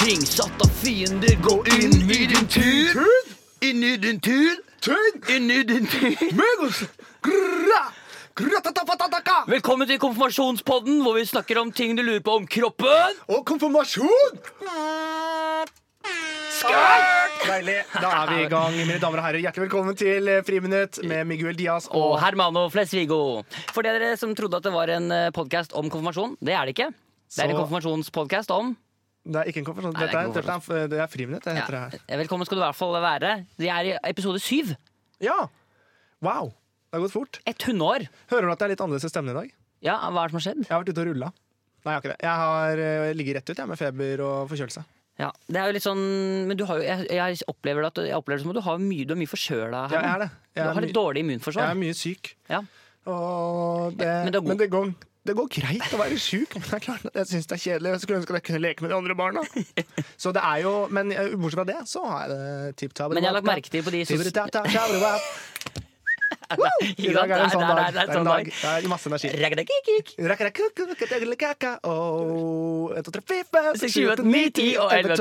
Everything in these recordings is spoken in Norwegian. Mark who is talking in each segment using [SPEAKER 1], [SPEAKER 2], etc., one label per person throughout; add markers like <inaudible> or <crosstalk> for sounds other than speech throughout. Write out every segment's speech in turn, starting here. [SPEAKER 1] Kringsatt av fiender, gå inn i din tur. Inn i din tur. Inn i din tur. <laughs> Velkommen til konfirmasjonspodden, hvor vi snakker om ting du lurer på om kroppen.
[SPEAKER 2] Og konfirmasjon! Deilig. Da er vi i gang, mine damer og herrer. Hjertelig velkommen til eh, Friminutt med Miguel Diaz
[SPEAKER 1] Og
[SPEAKER 2] og
[SPEAKER 1] Hermano Flesvigo. For dere som trodde at det var en podkast om konfirmasjon, det er det ikke. Det er en
[SPEAKER 2] Så-
[SPEAKER 1] konfirmasjonspodkast om
[SPEAKER 2] Det er ikke en konfirmasjon.
[SPEAKER 1] Nei, det er
[SPEAKER 2] Dette er,
[SPEAKER 1] ikke
[SPEAKER 2] dette er, det er Friminutt. Det heter det her.
[SPEAKER 1] Ja, Eh, Velkommen skal du i hvert fall være. Vi er i episode syv.
[SPEAKER 2] Ja! Wow. Det har gått fort.
[SPEAKER 1] Et hundeår.
[SPEAKER 2] Hører du at det er litt annerledes i stemmen i dag?
[SPEAKER 1] Ja, hva er det som har skjedd?
[SPEAKER 2] Jeg har vært ute og rulla. Nei, jeg har ikke det. Jeg har eh, ligget rett ut jeg, med feber og forkjølelse.
[SPEAKER 1] Ja, det er jo litt sånn Men du har jo, jeg, jeg opplever det at jeg opplever det som at du har mye, du er mye forkjøla.
[SPEAKER 2] Ja, jeg
[SPEAKER 1] Herman.
[SPEAKER 2] er det. Jeg
[SPEAKER 1] du
[SPEAKER 2] er,
[SPEAKER 1] har et
[SPEAKER 2] my
[SPEAKER 1] dårlig
[SPEAKER 2] jeg
[SPEAKER 1] immunforsvar.
[SPEAKER 2] er mye syk.
[SPEAKER 1] Ja.
[SPEAKER 2] Og det,
[SPEAKER 1] Men
[SPEAKER 2] men
[SPEAKER 1] det er
[SPEAKER 2] det,
[SPEAKER 1] god-
[SPEAKER 2] går, det går greit å være sjuk, men det er klart at jeg syns det er kjedelig. Jeg skulle ønske at jeg kunne leke med de andre barna. Så det er jo, Men eh, bortsett fra det, så har jeg det tipp topp.
[SPEAKER 1] Men jeg har lagt merke til på de sos- <laughs>
[SPEAKER 2] I dag er det en sånn dag. Det er en
[SPEAKER 1] dag.
[SPEAKER 2] dag. Det er masse energi.
[SPEAKER 1] Ragdakikik.
[SPEAKER 2] Og 1, 2, 3, 4, 5,
[SPEAKER 1] 6, 7, 8, 9, 10 og 11,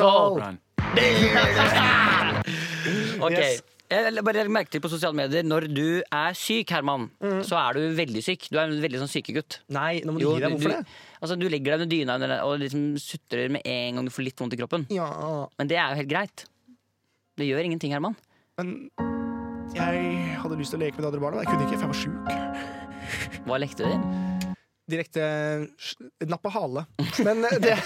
[SPEAKER 1] 12. <laughs> Ok.
[SPEAKER 2] Yes.
[SPEAKER 1] Jeg la- bare legger merke til på sosiale medier Når du er syk, Herman, så er du veldig syk. Du er en veldig sånn sykegutt.
[SPEAKER 2] Nei, nå må Mm. du gi deg.
[SPEAKER 1] du,
[SPEAKER 2] Hvorfor det?
[SPEAKER 1] altså, du legger deg under dyna under- og liksom sutrer med en gang du får litt vondt i kroppen.
[SPEAKER 2] Ja,
[SPEAKER 1] Men det er jo helt greit. Det gjør ingenting, Herman.
[SPEAKER 2] men jeg hadde lyst til å leke med de andre barna, men jeg kunne ikke, for jeg var sjuk.
[SPEAKER 1] Hva lekte du?
[SPEAKER 2] Direkte sj- napp og hale. Men eh, det,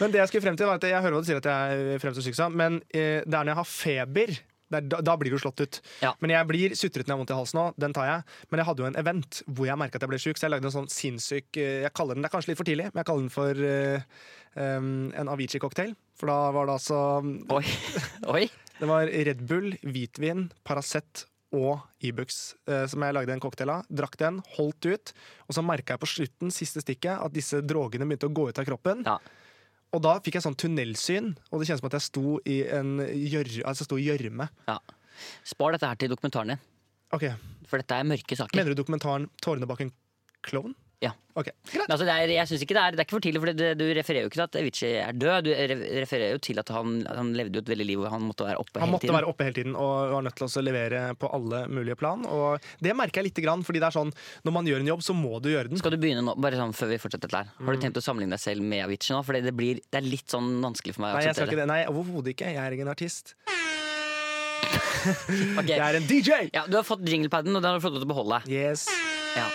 [SPEAKER 2] men det jeg skulle frem til, var at jeg hører hva du sier at jeg er fremst og syk, sa, men eh, det er når jeg har feber. det er da, da blir du slått ut.
[SPEAKER 1] Ja.
[SPEAKER 2] Men jeg blir sutret når jeg har vondt i halsen òg. Den tar jeg. Men jeg hadde jo en event hvor jeg merka at jeg ble sjuk, så jeg lagde en sånn sinnssyk eh, Jeg kaller den, Det er kanskje litt for tidlig, men jeg kaller den for eh, em, en Avicii-cocktail. For da var det altså
[SPEAKER 1] Oi. <laughs> Oi.
[SPEAKER 2] Det var Red Bull, hvitvin, Paracet og Ibux eh, som jeg lagde en cocktail av. Drakk den, holdt ut, og så merka jeg på slutten siste stikket, at disse drogene begynte å gå ut av kroppen.
[SPEAKER 1] Ja.
[SPEAKER 2] Og da fikk jeg sånn tunnelsyn, og det kjennes som at jeg sto i en gjør- altså jeg sto i gjørme.
[SPEAKER 1] Ja. Spar dette her til dokumentaren din,
[SPEAKER 2] Ok,
[SPEAKER 1] for dette er mørke saker.
[SPEAKER 2] Mener du dokumentaren 'Tårene bak en klovn'?
[SPEAKER 1] Ja.
[SPEAKER 2] Ok, greit.
[SPEAKER 1] Men altså, det er, jeg synes ikke det er, det er ikke for tidlig, for det, du refererer jo ikke til at Avicii er død. Du re- refererer jo til at han, han levde jo et veldig liv hvor han måtte være oppe
[SPEAKER 2] Han
[SPEAKER 1] hele
[SPEAKER 2] måtte
[SPEAKER 1] tiden.
[SPEAKER 2] være oppe hele tiden og var nødt til å levere på alle mulige plan. Og det merker jeg lite grann, fordi det er sånn når man gjør en jobb, så må du gjøre den.
[SPEAKER 1] Skal du begynne nå, bare sånn før vi fortsetter dette her? Har du
[SPEAKER 2] Mm.
[SPEAKER 1] tenkt å sammenligne deg selv med Avicii nå? For det, blir, det er litt sånn vanskelig for meg å
[SPEAKER 2] Nei, jeg skal
[SPEAKER 1] akseptere.
[SPEAKER 2] ikke det. Nei, overhodet ikke. Jeg er ingen artist.
[SPEAKER 1] Ok.
[SPEAKER 2] Jeg er en DJ!
[SPEAKER 1] Ja, du har fått jinglepaden, og den har du fått lov til å beholde.
[SPEAKER 2] Yes.
[SPEAKER 1] Ja.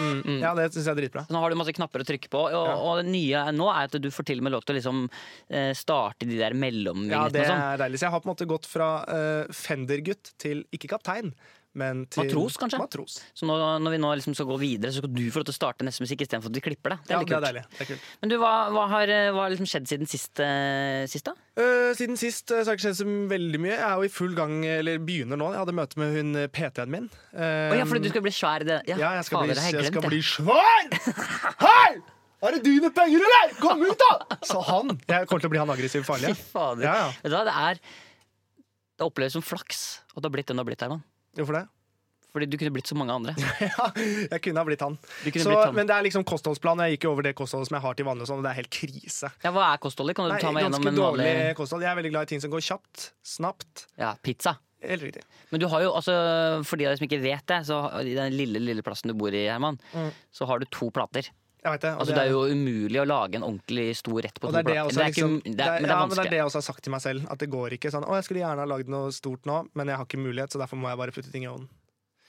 [SPEAKER 1] Mm,
[SPEAKER 2] Ja, det syns jeg er dritbra.
[SPEAKER 1] Så nå har du masse knapper å trykke på, og, og det nye nå er at du får til og med lov til å liksom eh, starte de der
[SPEAKER 2] Ja,
[SPEAKER 1] mellomvingetene
[SPEAKER 2] det
[SPEAKER 1] og sånn.
[SPEAKER 2] er deilig. Så jeg har på en måte gått fra eh, Fender-gutt til ikke kaptein, men til
[SPEAKER 1] Matros, kanskje?
[SPEAKER 2] Matros.
[SPEAKER 1] Så nå, når vi nå liksom skal gå videre, så skal du få lov til å starte neste musikk istedenfor at de klipper det. Det
[SPEAKER 2] Ja,
[SPEAKER 1] er litt
[SPEAKER 2] det er
[SPEAKER 1] kult.
[SPEAKER 2] deilig. Det er kult.
[SPEAKER 1] Men du, hva, hva har, eh, hva har liksom skjedd siden sist, eh, sist da?
[SPEAKER 2] Eh, siden sist eh, så har det ikke skjedd så veldig mye. Jeg er jo i full gang, eller begynner nå. Jeg hadde møte med hun eh, PT-en min. Eh,
[SPEAKER 1] Å ja, fordi du skal bli svær. Det. Ja,
[SPEAKER 2] Ja, jeg skal,
[SPEAKER 1] fader,
[SPEAKER 2] bli,
[SPEAKER 1] det har
[SPEAKER 2] jeg skal
[SPEAKER 1] glemt,
[SPEAKER 2] bli svær! Hei! Er det dine penger, eller?! Kom ut, da! Så han. Jeg kommer til å bli han aggressiv farlige.
[SPEAKER 1] Fy fader.
[SPEAKER 2] Ja, ja.
[SPEAKER 1] Vet du hva, det er Det oppleves som flaks at du har blitt den du har blitt, Herman.
[SPEAKER 2] Hvorfor det?
[SPEAKER 1] <laughs> Fordi du kunne blitt så mange andre.
[SPEAKER 2] Ja, jeg kunne ha blitt han.
[SPEAKER 1] Du kunne blitt
[SPEAKER 2] <laughs> så,
[SPEAKER 1] sånn, han.
[SPEAKER 2] Men det er liksom kostholdsplan. og Jeg gikk jo over det kostholdet som jeg har til vanlig, og sånn, og det er helt krise.
[SPEAKER 1] Ja, Hva er kostholdet? Kan du
[SPEAKER 2] Nei,
[SPEAKER 1] ta meg gjennom
[SPEAKER 2] ganske
[SPEAKER 1] en
[SPEAKER 2] dårlig
[SPEAKER 1] vanlig
[SPEAKER 2] kosthold. Jeg er veldig glad i ting som går kjapt, snapt.
[SPEAKER 1] ja, pizza?
[SPEAKER 2] Helt riktig.
[SPEAKER 1] Men du har jo, altså, for de av dere som ikke vet det, så i den lille lille plassen du bor i, Herman, så har du to plater.
[SPEAKER 2] Jeg vet det. Mm. og
[SPEAKER 1] Altså, Det er jo umulig å lage en ordentlig stor rett på
[SPEAKER 2] og
[SPEAKER 1] to
[SPEAKER 2] det er det
[SPEAKER 1] plater.
[SPEAKER 2] jeg også
[SPEAKER 1] Men det
[SPEAKER 2] har
[SPEAKER 1] er ikke-
[SPEAKER 2] liksom,
[SPEAKER 1] det er- men det
[SPEAKER 2] ja,
[SPEAKER 1] er
[SPEAKER 2] men det er det
[SPEAKER 1] vanskelig.
[SPEAKER 2] jeg også har sagt til meg selv. At det går ikke sånn Å, jeg skulle gjerne ha lagd noe stort nå, men jeg har ikke mulighet, så derfor må jeg bare putte ting i ovnen.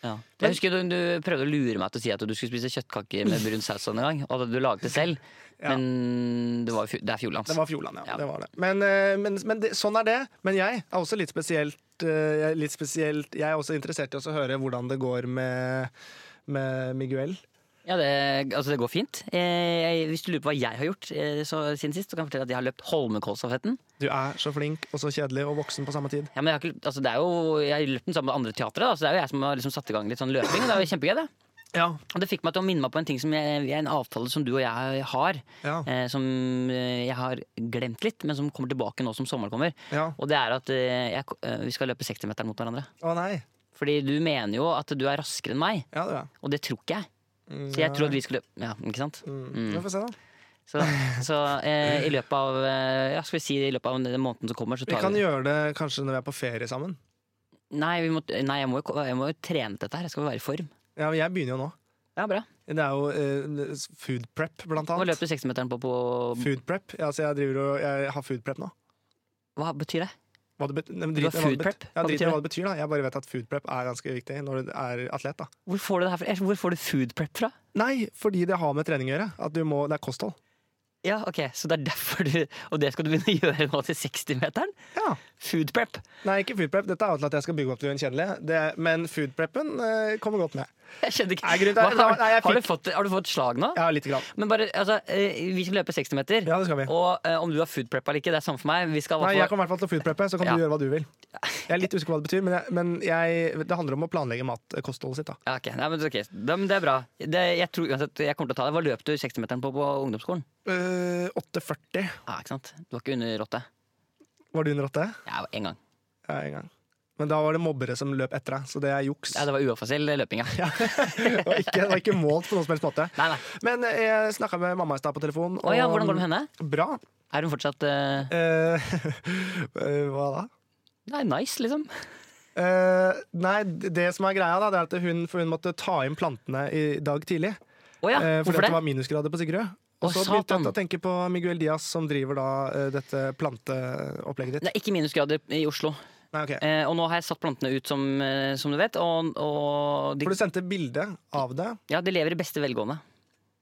[SPEAKER 1] Ja. Jeg husker du, du prøvde å lure meg til å si at du skulle spise kjøttkaker med brun saus en gang. Og at du laget det selv.
[SPEAKER 2] Ja.
[SPEAKER 1] Men det, var, jo fjo- det er altså. fjordlands.
[SPEAKER 2] Det var Fjordland, ja.
[SPEAKER 1] Ja.
[SPEAKER 2] Det var det. Men, eh, men, men det, sånn er det. Men jeg er også litt spesielt, eh, litt spesielt Jeg er også interessert i også å høre hvordan det går med, med Miguel.
[SPEAKER 1] Ja, det, altså, det går fint. Eh, jeg, hvis du lurer på hva jeg har gjort eh, så, siden sist, så kan jeg fortelle at jeg har løpt Holmenkollstafetten.
[SPEAKER 2] Du er så flink og så kjedelig og voksen på samme tid.
[SPEAKER 1] Ja, men jeg, har ikke, altså, det er jo, jeg har løpt den sammen med andre teatre, da, så det er jo jeg som har liksom, satt i gang litt sånn løping. Og det er jo kjempegøy, det.
[SPEAKER 2] Ja.
[SPEAKER 1] Og det fikk meg til å minne meg på en ting som jeg, en avtale som du og jeg har.
[SPEAKER 2] Ja.
[SPEAKER 1] Eh, som eh, jeg har glemt litt, men som kommer tilbake nå som sommeren kommer.
[SPEAKER 2] Ja.
[SPEAKER 1] Og det er at eh, jeg, eh, vi skal løpe 60-meteren mot hverandre.
[SPEAKER 2] Å nei.
[SPEAKER 1] Fordi du mener jo at du er raskere enn meg,
[SPEAKER 2] Ja, det er
[SPEAKER 1] og det tror ikke jeg. Så jeg tror at vi skulle Ja, ikke sant?
[SPEAKER 2] Mm. Vi får se, da.
[SPEAKER 1] Så, så eh, i løpet av eh, ja, skal vi si i løpet av den måneden som kommer, så
[SPEAKER 2] Vi
[SPEAKER 1] tar
[SPEAKER 2] kan
[SPEAKER 1] vi
[SPEAKER 2] gjøre det kanskje når vi er på ferie sammen.
[SPEAKER 1] Nei, vi må, nei jeg, må jo, ko- jeg må jo trene til dette her. Jeg skal jo være i form.
[SPEAKER 2] Ja, men Jeg begynner jo nå.
[SPEAKER 1] Ja, bra.
[SPEAKER 2] Det er jo eh, food prep, blant
[SPEAKER 1] Hva
[SPEAKER 2] annet.
[SPEAKER 1] løper 60-meteren på på
[SPEAKER 2] Food prep. Ja, altså jeg, driver og, jeg har food prep nå.
[SPEAKER 1] Hva betyr det?
[SPEAKER 2] Hva det bet- nei, men
[SPEAKER 1] Du
[SPEAKER 2] drit
[SPEAKER 1] har
[SPEAKER 2] i hva
[SPEAKER 1] food
[SPEAKER 2] det
[SPEAKER 1] prep?
[SPEAKER 2] bet- Ja,
[SPEAKER 1] Hva
[SPEAKER 2] drit i
[SPEAKER 1] betyr
[SPEAKER 2] hva det betyr, da. Jeg bare vet at food prep er ganske viktig når du er atlet. da.
[SPEAKER 1] Hvor får du det her fra? Hvor får du food prep fra?
[SPEAKER 2] Nei, fordi det har med trening å gjøre. At du må, det er kosthold.
[SPEAKER 1] Ja, ok, Så det er derfor du Og det skal du begynne å gjøre nå til 60-meteren?
[SPEAKER 2] Ja.
[SPEAKER 1] Food prep.
[SPEAKER 2] Nei, ikke food prep. Dette er jo til at jeg skal bygge opp til gjenkjennelig. Det, men food preppen eh, kommer godt med.
[SPEAKER 1] Jeg skjønner ikke.
[SPEAKER 2] Nei, grunnen til-
[SPEAKER 1] Hva, har,
[SPEAKER 2] nei, jeg
[SPEAKER 1] har,
[SPEAKER 2] fikk-
[SPEAKER 1] du fått, har du fått slag nå?
[SPEAKER 2] Ja, lite grann.
[SPEAKER 1] Men bare, altså, eh, vi skal løpe 60-meter.
[SPEAKER 2] Ja, det skal vi.
[SPEAKER 1] Og eh, om du har food prep eller ikke, det er samme for meg. Vi skal i
[SPEAKER 2] Nei,
[SPEAKER 1] hvert
[SPEAKER 2] jeg
[SPEAKER 1] fall-
[SPEAKER 2] kommer i hvert fall til å food preppe, så kan
[SPEAKER 1] Ja.
[SPEAKER 2] du gjøre hva du vil. Jeg er litt usikker på hva det betyr, men, jeg, men jeg, det handler om å planlegge matkostholdet sitt. da.
[SPEAKER 1] ja, ok. Nei, men, ok. Da- men det er bra. Det, jeg tror uansett jeg kommer til å ta det. Hva løp du 60-meteren på på ungdomsskolen?
[SPEAKER 2] Eh, 8,40.
[SPEAKER 1] Ja, ikke sant? Du var ikke under åtte?
[SPEAKER 2] Var du under åtte?
[SPEAKER 1] Ja, en gang.
[SPEAKER 2] Ja, en gang. Men da var det mobbere som løp etter deg, så det er juks.
[SPEAKER 1] Ja, det var uoffisiell løping, ja.
[SPEAKER 2] <laughs> Det var ikke, det var ikke målt på noen som helst måte.
[SPEAKER 1] Nei, nei.
[SPEAKER 2] Men eh, jeg snakka med mamma i stad på telefon.
[SPEAKER 1] Å ja, hvordan går det med henne?
[SPEAKER 2] Bra.
[SPEAKER 1] Er hun fortsatt eh,
[SPEAKER 2] Eh, <laughs> eh, hva da?
[SPEAKER 1] Nei, nice, liksom?
[SPEAKER 2] Eh, nei, det som er greia, da, det er at hun, for hun måtte ta inn plantene i dag tidlig.
[SPEAKER 1] Å ja,
[SPEAKER 2] eh, fordi
[SPEAKER 1] hvorfor
[SPEAKER 2] at
[SPEAKER 1] det?
[SPEAKER 2] det var minusgrader på Sigrud.
[SPEAKER 1] Å,
[SPEAKER 2] Og så begynte
[SPEAKER 1] satan.
[SPEAKER 2] jeg å tenke på Miguel Diaz, som driver da eh, dette planteopplegget ditt.
[SPEAKER 1] Det er ikke minusgrader i Oslo.
[SPEAKER 2] Nei, ok.
[SPEAKER 1] Eh, og nå har jeg satt plantene ut, som, eh, som du vet. Og, og de,
[SPEAKER 2] For du sendte bilde av det.
[SPEAKER 1] ja, de lever i beste velgående.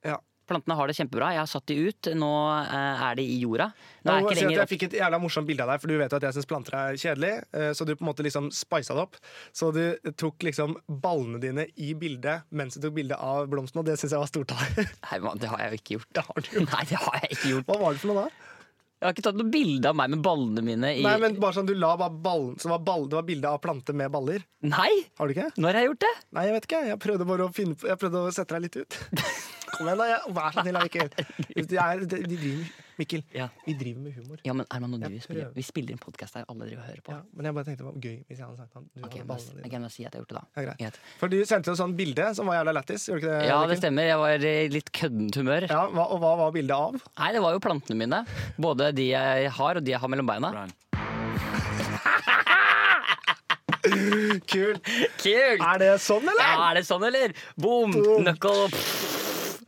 [SPEAKER 2] Ja.
[SPEAKER 1] Plantene har det kjempebra. Jeg har satt de ut. Nå eh, er de i jorda. Nå
[SPEAKER 2] Jeg,
[SPEAKER 1] er
[SPEAKER 2] må
[SPEAKER 1] jeg
[SPEAKER 2] si
[SPEAKER 1] ikke
[SPEAKER 2] at
[SPEAKER 1] lenger
[SPEAKER 2] jeg fikk et jævla morsomt bilde av deg, for du vet jo at jeg syns planter er kjedelig. eh, Så du på en måte liksom spisa det opp. Så du tok liksom ballene dine i bildet mens du tok bilde av blomsten, og det syns jeg var stort av deg. <laughs>
[SPEAKER 1] Nei, man, det har jeg jo ikke gjort.
[SPEAKER 2] Det har du jo.
[SPEAKER 1] Nei, det har jeg ikke gjort.
[SPEAKER 2] Hva var det for noe da?
[SPEAKER 1] Jeg har ikke tatt noe bilde av meg med ballene mine i
[SPEAKER 2] Nei, men bare sånn du la bare ballen Så var ball, det var bilde av planter med baller.
[SPEAKER 1] Nei!
[SPEAKER 2] Har du ikke?
[SPEAKER 1] Når har jeg gjort det?
[SPEAKER 2] Nei, jeg vet ikke. Jeg prøvde bare å, finne, på- jeg prøvde å sette deg litt
[SPEAKER 1] <laughs>
[SPEAKER 2] ut. Kom igjen, da. Jeg, vær så snill, da, Mikkel. Det er, de de driver, Mikkel,
[SPEAKER 1] Ja.
[SPEAKER 2] vi driver med humor.
[SPEAKER 1] Ja, men Herman, nå driver vi
[SPEAKER 2] Jeg
[SPEAKER 1] og spiller.
[SPEAKER 2] prøver.
[SPEAKER 1] Vi spiller inn podkast der alle driver og hører på.
[SPEAKER 2] Ja, men jeg bare tenkte det var gøy hvis jeg hadde sagt han. Du
[SPEAKER 1] Ok, men
[SPEAKER 2] hadde
[SPEAKER 1] da-
[SPEAKER 2] ballene
[SPEAKER 1] jeg
[SPEAKER 2] dine.
[SPEAKER 1] kan bare si at jeg har gjort det, da.
[SPEAKER 2] Ja, greit.
[SPEAKER 1] Greit.
[SPEAKER 2] For du sendte jo sånn bilde som var jævla lættis. Gjorde ikke det?
[SPEAKER 1] Ja,
[SPEAKER 2] Mikkel?
[SPEAKER 1] det stemmer. Jeg var i litt køddent humør.
[SPEAKER 2] Ja, hva, og hva var bildet av? <laughs>
[SPEAKER 1] Nei, det var jo plantene mine. Både de jeg har, og de jeg har mellom beina.
[SPEAKER 2] Kult!
[SPEAKER 1] Kult!
[SPEAKER 2] Er det sånn, eller?
[SPEAKER 1] Ja, er det sånn, eller? Boom!
[SPEAKER 2] Boom.
[SPEAKER 1] Knuckle! Pff.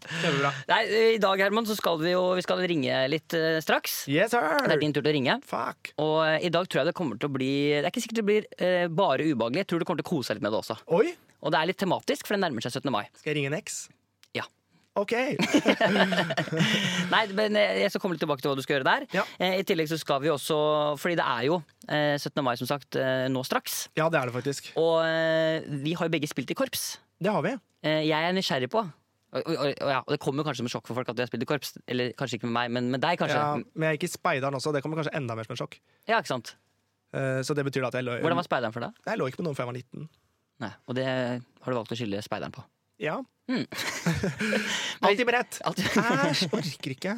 [SPEAKER 2] Kjempebra.
[SPEAKER 1] Nei, I dag Herman, så skal vi jo vi skal ringe litt eh, straks.
[SPEAKER 2] Yes,
[SPEAKER 1] Det er
[SPEAKER 2] sir!
[SPEAKER 1] din tur til å ringe.
[SPEAKER 2] Fuck!
[SPEAKER 1] Og eh, i dag tror jeg det kommer til å bli Det er ikke sikkert det blir eh, bare ubehagelig. Jeg tror du kommer til å kose deg litt med det også.
[SPEAKER 2] Oi!
[SPEAKER 1] Og det er litt tematisk, for det nærmer seg 17. mai.
[SPEAKER 2] Skal jeg ringe en eks?
[SPEAKER 1] Ja.
[SPEAKER 2] OK.
[SPEAKER 1] Nei, men eh, jeg skal komme litt tilbake til hva du skal gjøre der.
[SPEAKER 2] Ja.
[SPEAKER 1] Eh, I tillegg så skal vi også Fordi det er jo eh, 17. mai, som sagt, eh, nå straks.
[SPEAKER 2] Ja, det er det faktisk.
[SPEAKER 1] Og eh, vi har jo begge spilt i korps.
[SPEAKER 2] Det har vi.
[SPEAKER 1] Eh, Jeg er nysgjerrig på og, og, og, ja, og Det kommer jo kanskje som et sjokk for folk at vi har spilt i korps. Eller kanskje ikke med meg, men med deg, kanskje.
[SPEAKER 2] Ja,
[SPEAKER 1] Ja,
[SPEAKER 2] men jeg gikk i speideren også, det kommer kanskje enda mer som en sjokk.
[SPEAKER 1] ikke sant?
[SPEAKER 2] Eh, Så det betyr da at jeg lå,
[SPEAKER 1] Hvordan var speideren for deg?
[SPEAKER 2] jeg lå ikke på noen før jeg var 19.
[SPEAKER 1] Nei, Og det har du valgt å skylde speideren på.
[SPEAKER 2] Ja.
[SPEAKER 1] <laughs>
[SPEAKER 2] Alltid beredt!
[SPEAKER 1] Alt-
[SPEAKER 2] Mm.
[SPEAKER 1] <laughs>
[SPEAKER 2] Æsj, orker ikke.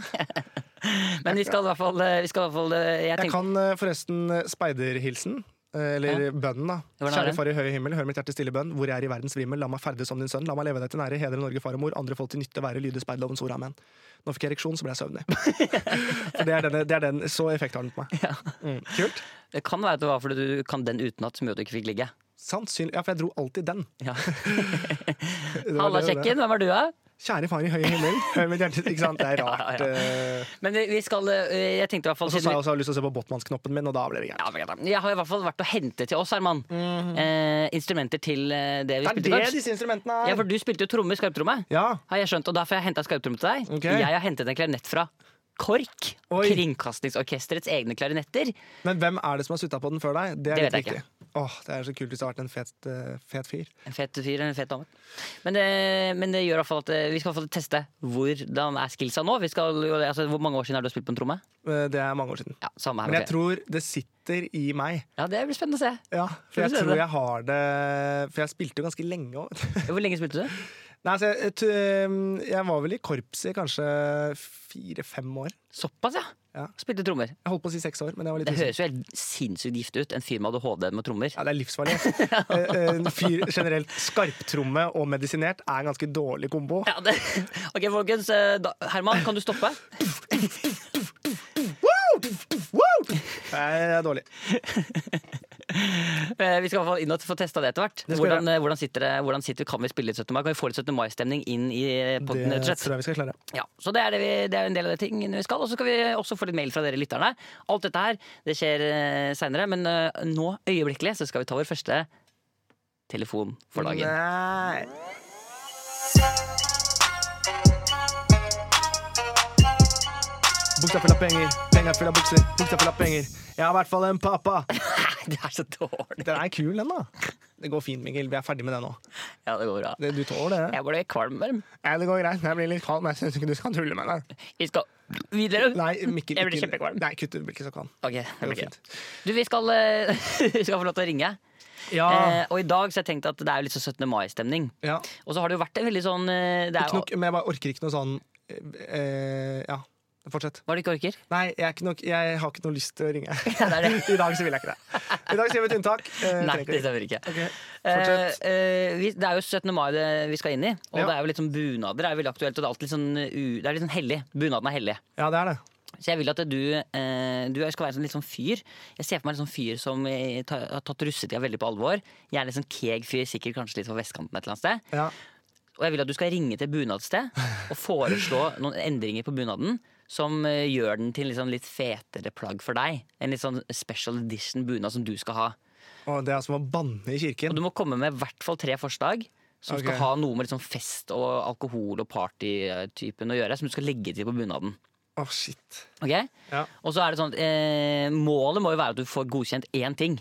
[SPEAKER 1] Men vi skal i hvert fall, eh, vi skal i hvert fall jeg
[SPEAKER 2] Jeg
[SPEAKER 1] tenker,
[SPEAKER 2] kan eh, forresten eh, speiderhilsen. eh, Eller bønnen, da.
[SPEAKER 1] Hvordan er
[SPEAKER 2] Kjære
[SPEAKER 1] den?
[SPEAKER 2] far i høye himmel, hør mitt hjerte stille bønn. Hvor jeg er i verdens vrimmel, la meg ferdes som din sønn. La meg leve deg til nære, hedre Norge, far og mor. Andre folk til nytte være, lyde speiderlovens ord, amen. Nå fikk jeg ereksjon, så ble
[SPEAKER 1] <laughs>
[SPEAKER 2] jeg søvnig. For det er, denne, det er den, Så effekt har den på meg. Mm. Kult.
[SPEAKER 1] Det kan være at det var fordi du kan den utenat som gjorde at du ikke fikk ligge.
[SPEAKER 2] Sannsynlig. Ja, for jeg dro alltid den.
[SPEAKER 1] <laughs> Ja.
[SPEAKER 2] Det var
[SPEAKER 1] Halla,
[SPEAKER 2] det- det-
[SPEAKER 1] kjekken, hvem er du, da?
[SPEAKER 2] Kjære far i høye himmel, hør mitt hjerte Ikke sant, det er rart.
[SPEAKER 1] <laughs> Ja, ja,
[SPEAKER 2] eh.
[SPEAKER 1] Men vi- vi skal eh, Jeg tenkte i hvert fall
[SPEAKER 2] Og så
[SPEAKER 1] siden
[SPEAKER 2] sa jeg
[SPEAKER 1] vi-
[SPEAKER 2] også at jeg har lyst til å se på Botmannsknoppen min, og da ble det gærent.
[SPEAKER 1] ja, men greit da. jeg har i hvert fall vært og hentet til oss, Herman. eh, instrumenter til eh, det vi
[SPEAKER 2] Mhm. Det er
[SPEAKER 1] spilte i
[SPEAKER 2] det
[SPEAKER 1] korps.
[SPEAKER 2] disse instrumentene er!
[SPEAKER 1] Ja, for du spilte jo tromme i skarptromme.
[SPEAKER 2] Ja,
[SPEAKER 1] Har jeg skjønt, og Derfor har jeg henta skarptromme til deg.
[SPEAKER 2] Ok.
[SPEAKER 1] Jeg har hentet en klarinett fra KORK.
[SPEAKER 2] Oi.
[SPEAKER 1] Kringkastingsorkesterets egne klarinetter.
[SPEAKER 2] Men hvem er det som har sutta på den før deg? Det er
[SPEAKER 1] Det
[SPEAKER 2] litt
[SPEAKER 1] vet jeg
[SPEAKER 2] viktig. Åh, det er så kult hvis det har vært en fet, eh, fet fyr.
[SPEAKER 1] En fet fyr eller en fet dame. Men det, men det gjør i hvert fall at eh, vi skal få teste hvordan er skillsa nå. Vi skal, jo- altså, hvor mange år siden har du spilt på en tromme?
[SPEAKER 2] Eh, Det er mange år siden.
[SPEAKER 1] Ja, samme her.
[SPEAKER 2] Men
[SPEAKER 1] ok.
[SPEAKER 2] jeg tror det sitter i meg.
[SPEAKER 1] Ja, Det blir spennende å se.
[SPEAKER 2] Ja,
[SPEAKER 1] Får
[SPEAKER 2] For jeg
[SPEAKER 1] vi se
[SPEAKER 2] tror
[SPEAKER 1] det.
[SPEAKER 2] jeg har det For jeg spilte jo ganske lenge òg.
[SPEAKER 1] Hvor lenge spilte du?
[SPEAKER 2] <laughs> Nei, altså, jeg, t- eh, jeg var vel i korpset i kanskje fire-fem år.
[SPEAKER 1] Såpass, ja.
[SPEAKER 2] Ja.
[SPEAKER 1] Spilte trommer.
[SPEAKER 2] Jeg holdt på å si seks år, men jeg var litt
[SPEAKER 1] Det
[SPEAKER 2] usikker.
[SPEAKER 1] høres jo helt sinnssykt gift ut. En fyr med ADHD med trommer.
[SPEAKER 2] Ja, det
[SPEAKER 1] <laughs>
[SPEAKER 2] er livsfarlig. Eh, eh, En fyr generelt skarptromme
[SPEAKER 1] <laughs>
[SPEAKER 2] og medisinert er en ganske dårlig kombo.
[SPEAKER 1] Ja, det. Ok, folkens. eh, Da, Herman, kan du stoppe?
[SPEAKER 2] Det er dårlig.
[SPEAKER 1] Eh, Vi skal i hvert fall inn og få testa det etter hvert.
[SPEAKER 2] Det skal vi
[SPEAKER 1] Hvordan, eh, hvordan, sitter det, hvordan sitter Kan vi spille litt 17. mai? Kan vi få litt 17. mai-stemning inn i eh, podden?
[SPEAKER 2] Det
[SPEAKER 1] rett og slett?
[SPEAKER 2] tror jeg vi skal klare.
[SPEAKER 1] Ja, så det er, det, vi, det er en del av de tingene vi skal. Og så skal vi også få litt mail fra dere lytterne. Alt dette her det skjer eh, seinere, men eh, nå øyeblikkelig så skal vi ta vår første telefon for dagen.
[SPEAKER 2] Nei. Buksa full av penger, penger full av bukser, buksa full av penger. Jeg har i hvert fall en pappa.
[SPEAKER 1] <laughs> Det er så dårlig!
[SPEAKER 2] Den er kul, den, da. Det går fint, Mikkel. Vi er ferdig med det nå.
[SPEAKER 1] Ja, det går bra.
[SPEAKER 2] Det, du tåler det?
[SPEAKER 1] Jeg ble kvalm.
[SPEAKER 2] Nei, det går greit. Jeg blir litt kald, men jeg syns ikke du skal tulle med det.
[SPEAKER 1] Vi skal videre.
[SPEAKER 2] Nei, Mikkel.
[SPEAKER 1] Jeg blir
[SPEAKER 2] ikke-
[SPEAKER 1] kjempekvalm.
[SPEAKER 2] Nei, kutt ut. Blir ikke så kald.
[SPEAKER 1] Ok, det
[SPEAKER 2] går
[SPEAKER 1] blir
[SPEAKER 2] fint.
[SPEAKER 1] fint. Du, vi skal, eh, <laughs> vi skal få lov til å ringe. Eh,
[SPEAKER 2] Ja.
[SPEAKER 1] og i dag så har jeg tenkt at det er jo litt sånn 17. mai-stemning.
[SPEAKER 2] ja.
[SPEAKER 1] Og så har det jo vært en veldig sånn eh, det er,
[SPEAKER 2] Ikke nok, men jeg bare orker ikke noe sånn eh, eh, Ja, fortsett.
[SPEAKER 1] Hva er det du ikke orker?
[SPEAKER 2] Nei, jeg, er ikke nok, jeg har ikke noe lyst til å
[SPEAKER 1] <laughs>
[SPEAKER 2] ringe.
[SPEAKER 1] det er det.
[SPEAKER 2] <laughs> I dag så vil jeg ikke det. I dag sier vi et unntak. Eh,
[SPEAKER 1] Nei,
[SPEAKER 2] trenger ikke
[SPEAKER 1] det
[SPEAKER 2] ringe.
[SPEAKER 1] stemmer ikke.
[SPEAKER 2] Ok,
[SPEAKER 1] Eh,
[SPEAKER 2] fortsett.
[SPEAKER 1] eh, vi, det er jo 17. mai det vi skal inn i, og
[SPEAKER 2] Ja.
[SPEAKER 1] det er jo litt sånn bunader er jo veldig aktuelt. Og det er alltid litt sånn, u, det er litt sånn hellig. Bunaden er hellig.
[SPEAKER 2] Ja, det er det.
[SPEAKER 1] Så jeg vil at du, eh, du skal være en sånn, litt sånn fyr. Jeg ser for meg en sånn fyr som eh, ta, har tatt russetida veldig på alvor. Jeg er litt sånn keeg fyr, sikkert kanskje litt fra vestkanten et eller annet sted.
[SPEAKER 2] Ja.
[SPEAKER 1] Og jeg vil at du skal ringe til bunadssted og foreslå noen endringer på bunaden som eh, gjør den til litt sånn litt fetere plagg for deg. En litt sånn special edition bunad som du skal ha.
[SPEAKER 2] Og det er som å banne i
[SPEAKER 1] Og
[SPEAKER 2] kirken.
[SPEAKER 1] du må komme med i hvert fall tre forslag som
[SPEAKER 2] Ok.
[SPEAKER 1] skal ha noe med liksom fest og alkohol og partytypen å gjøre, som du skal legge til på bunaden.
[SPEAKER 2] Å, shit.
[SPEAKER 1] Ok?
[SPEAKER 2] Ja.
[SPEAKER 1] Og så er det sånn at eh, Målet må jo være at du får godkjent én ting.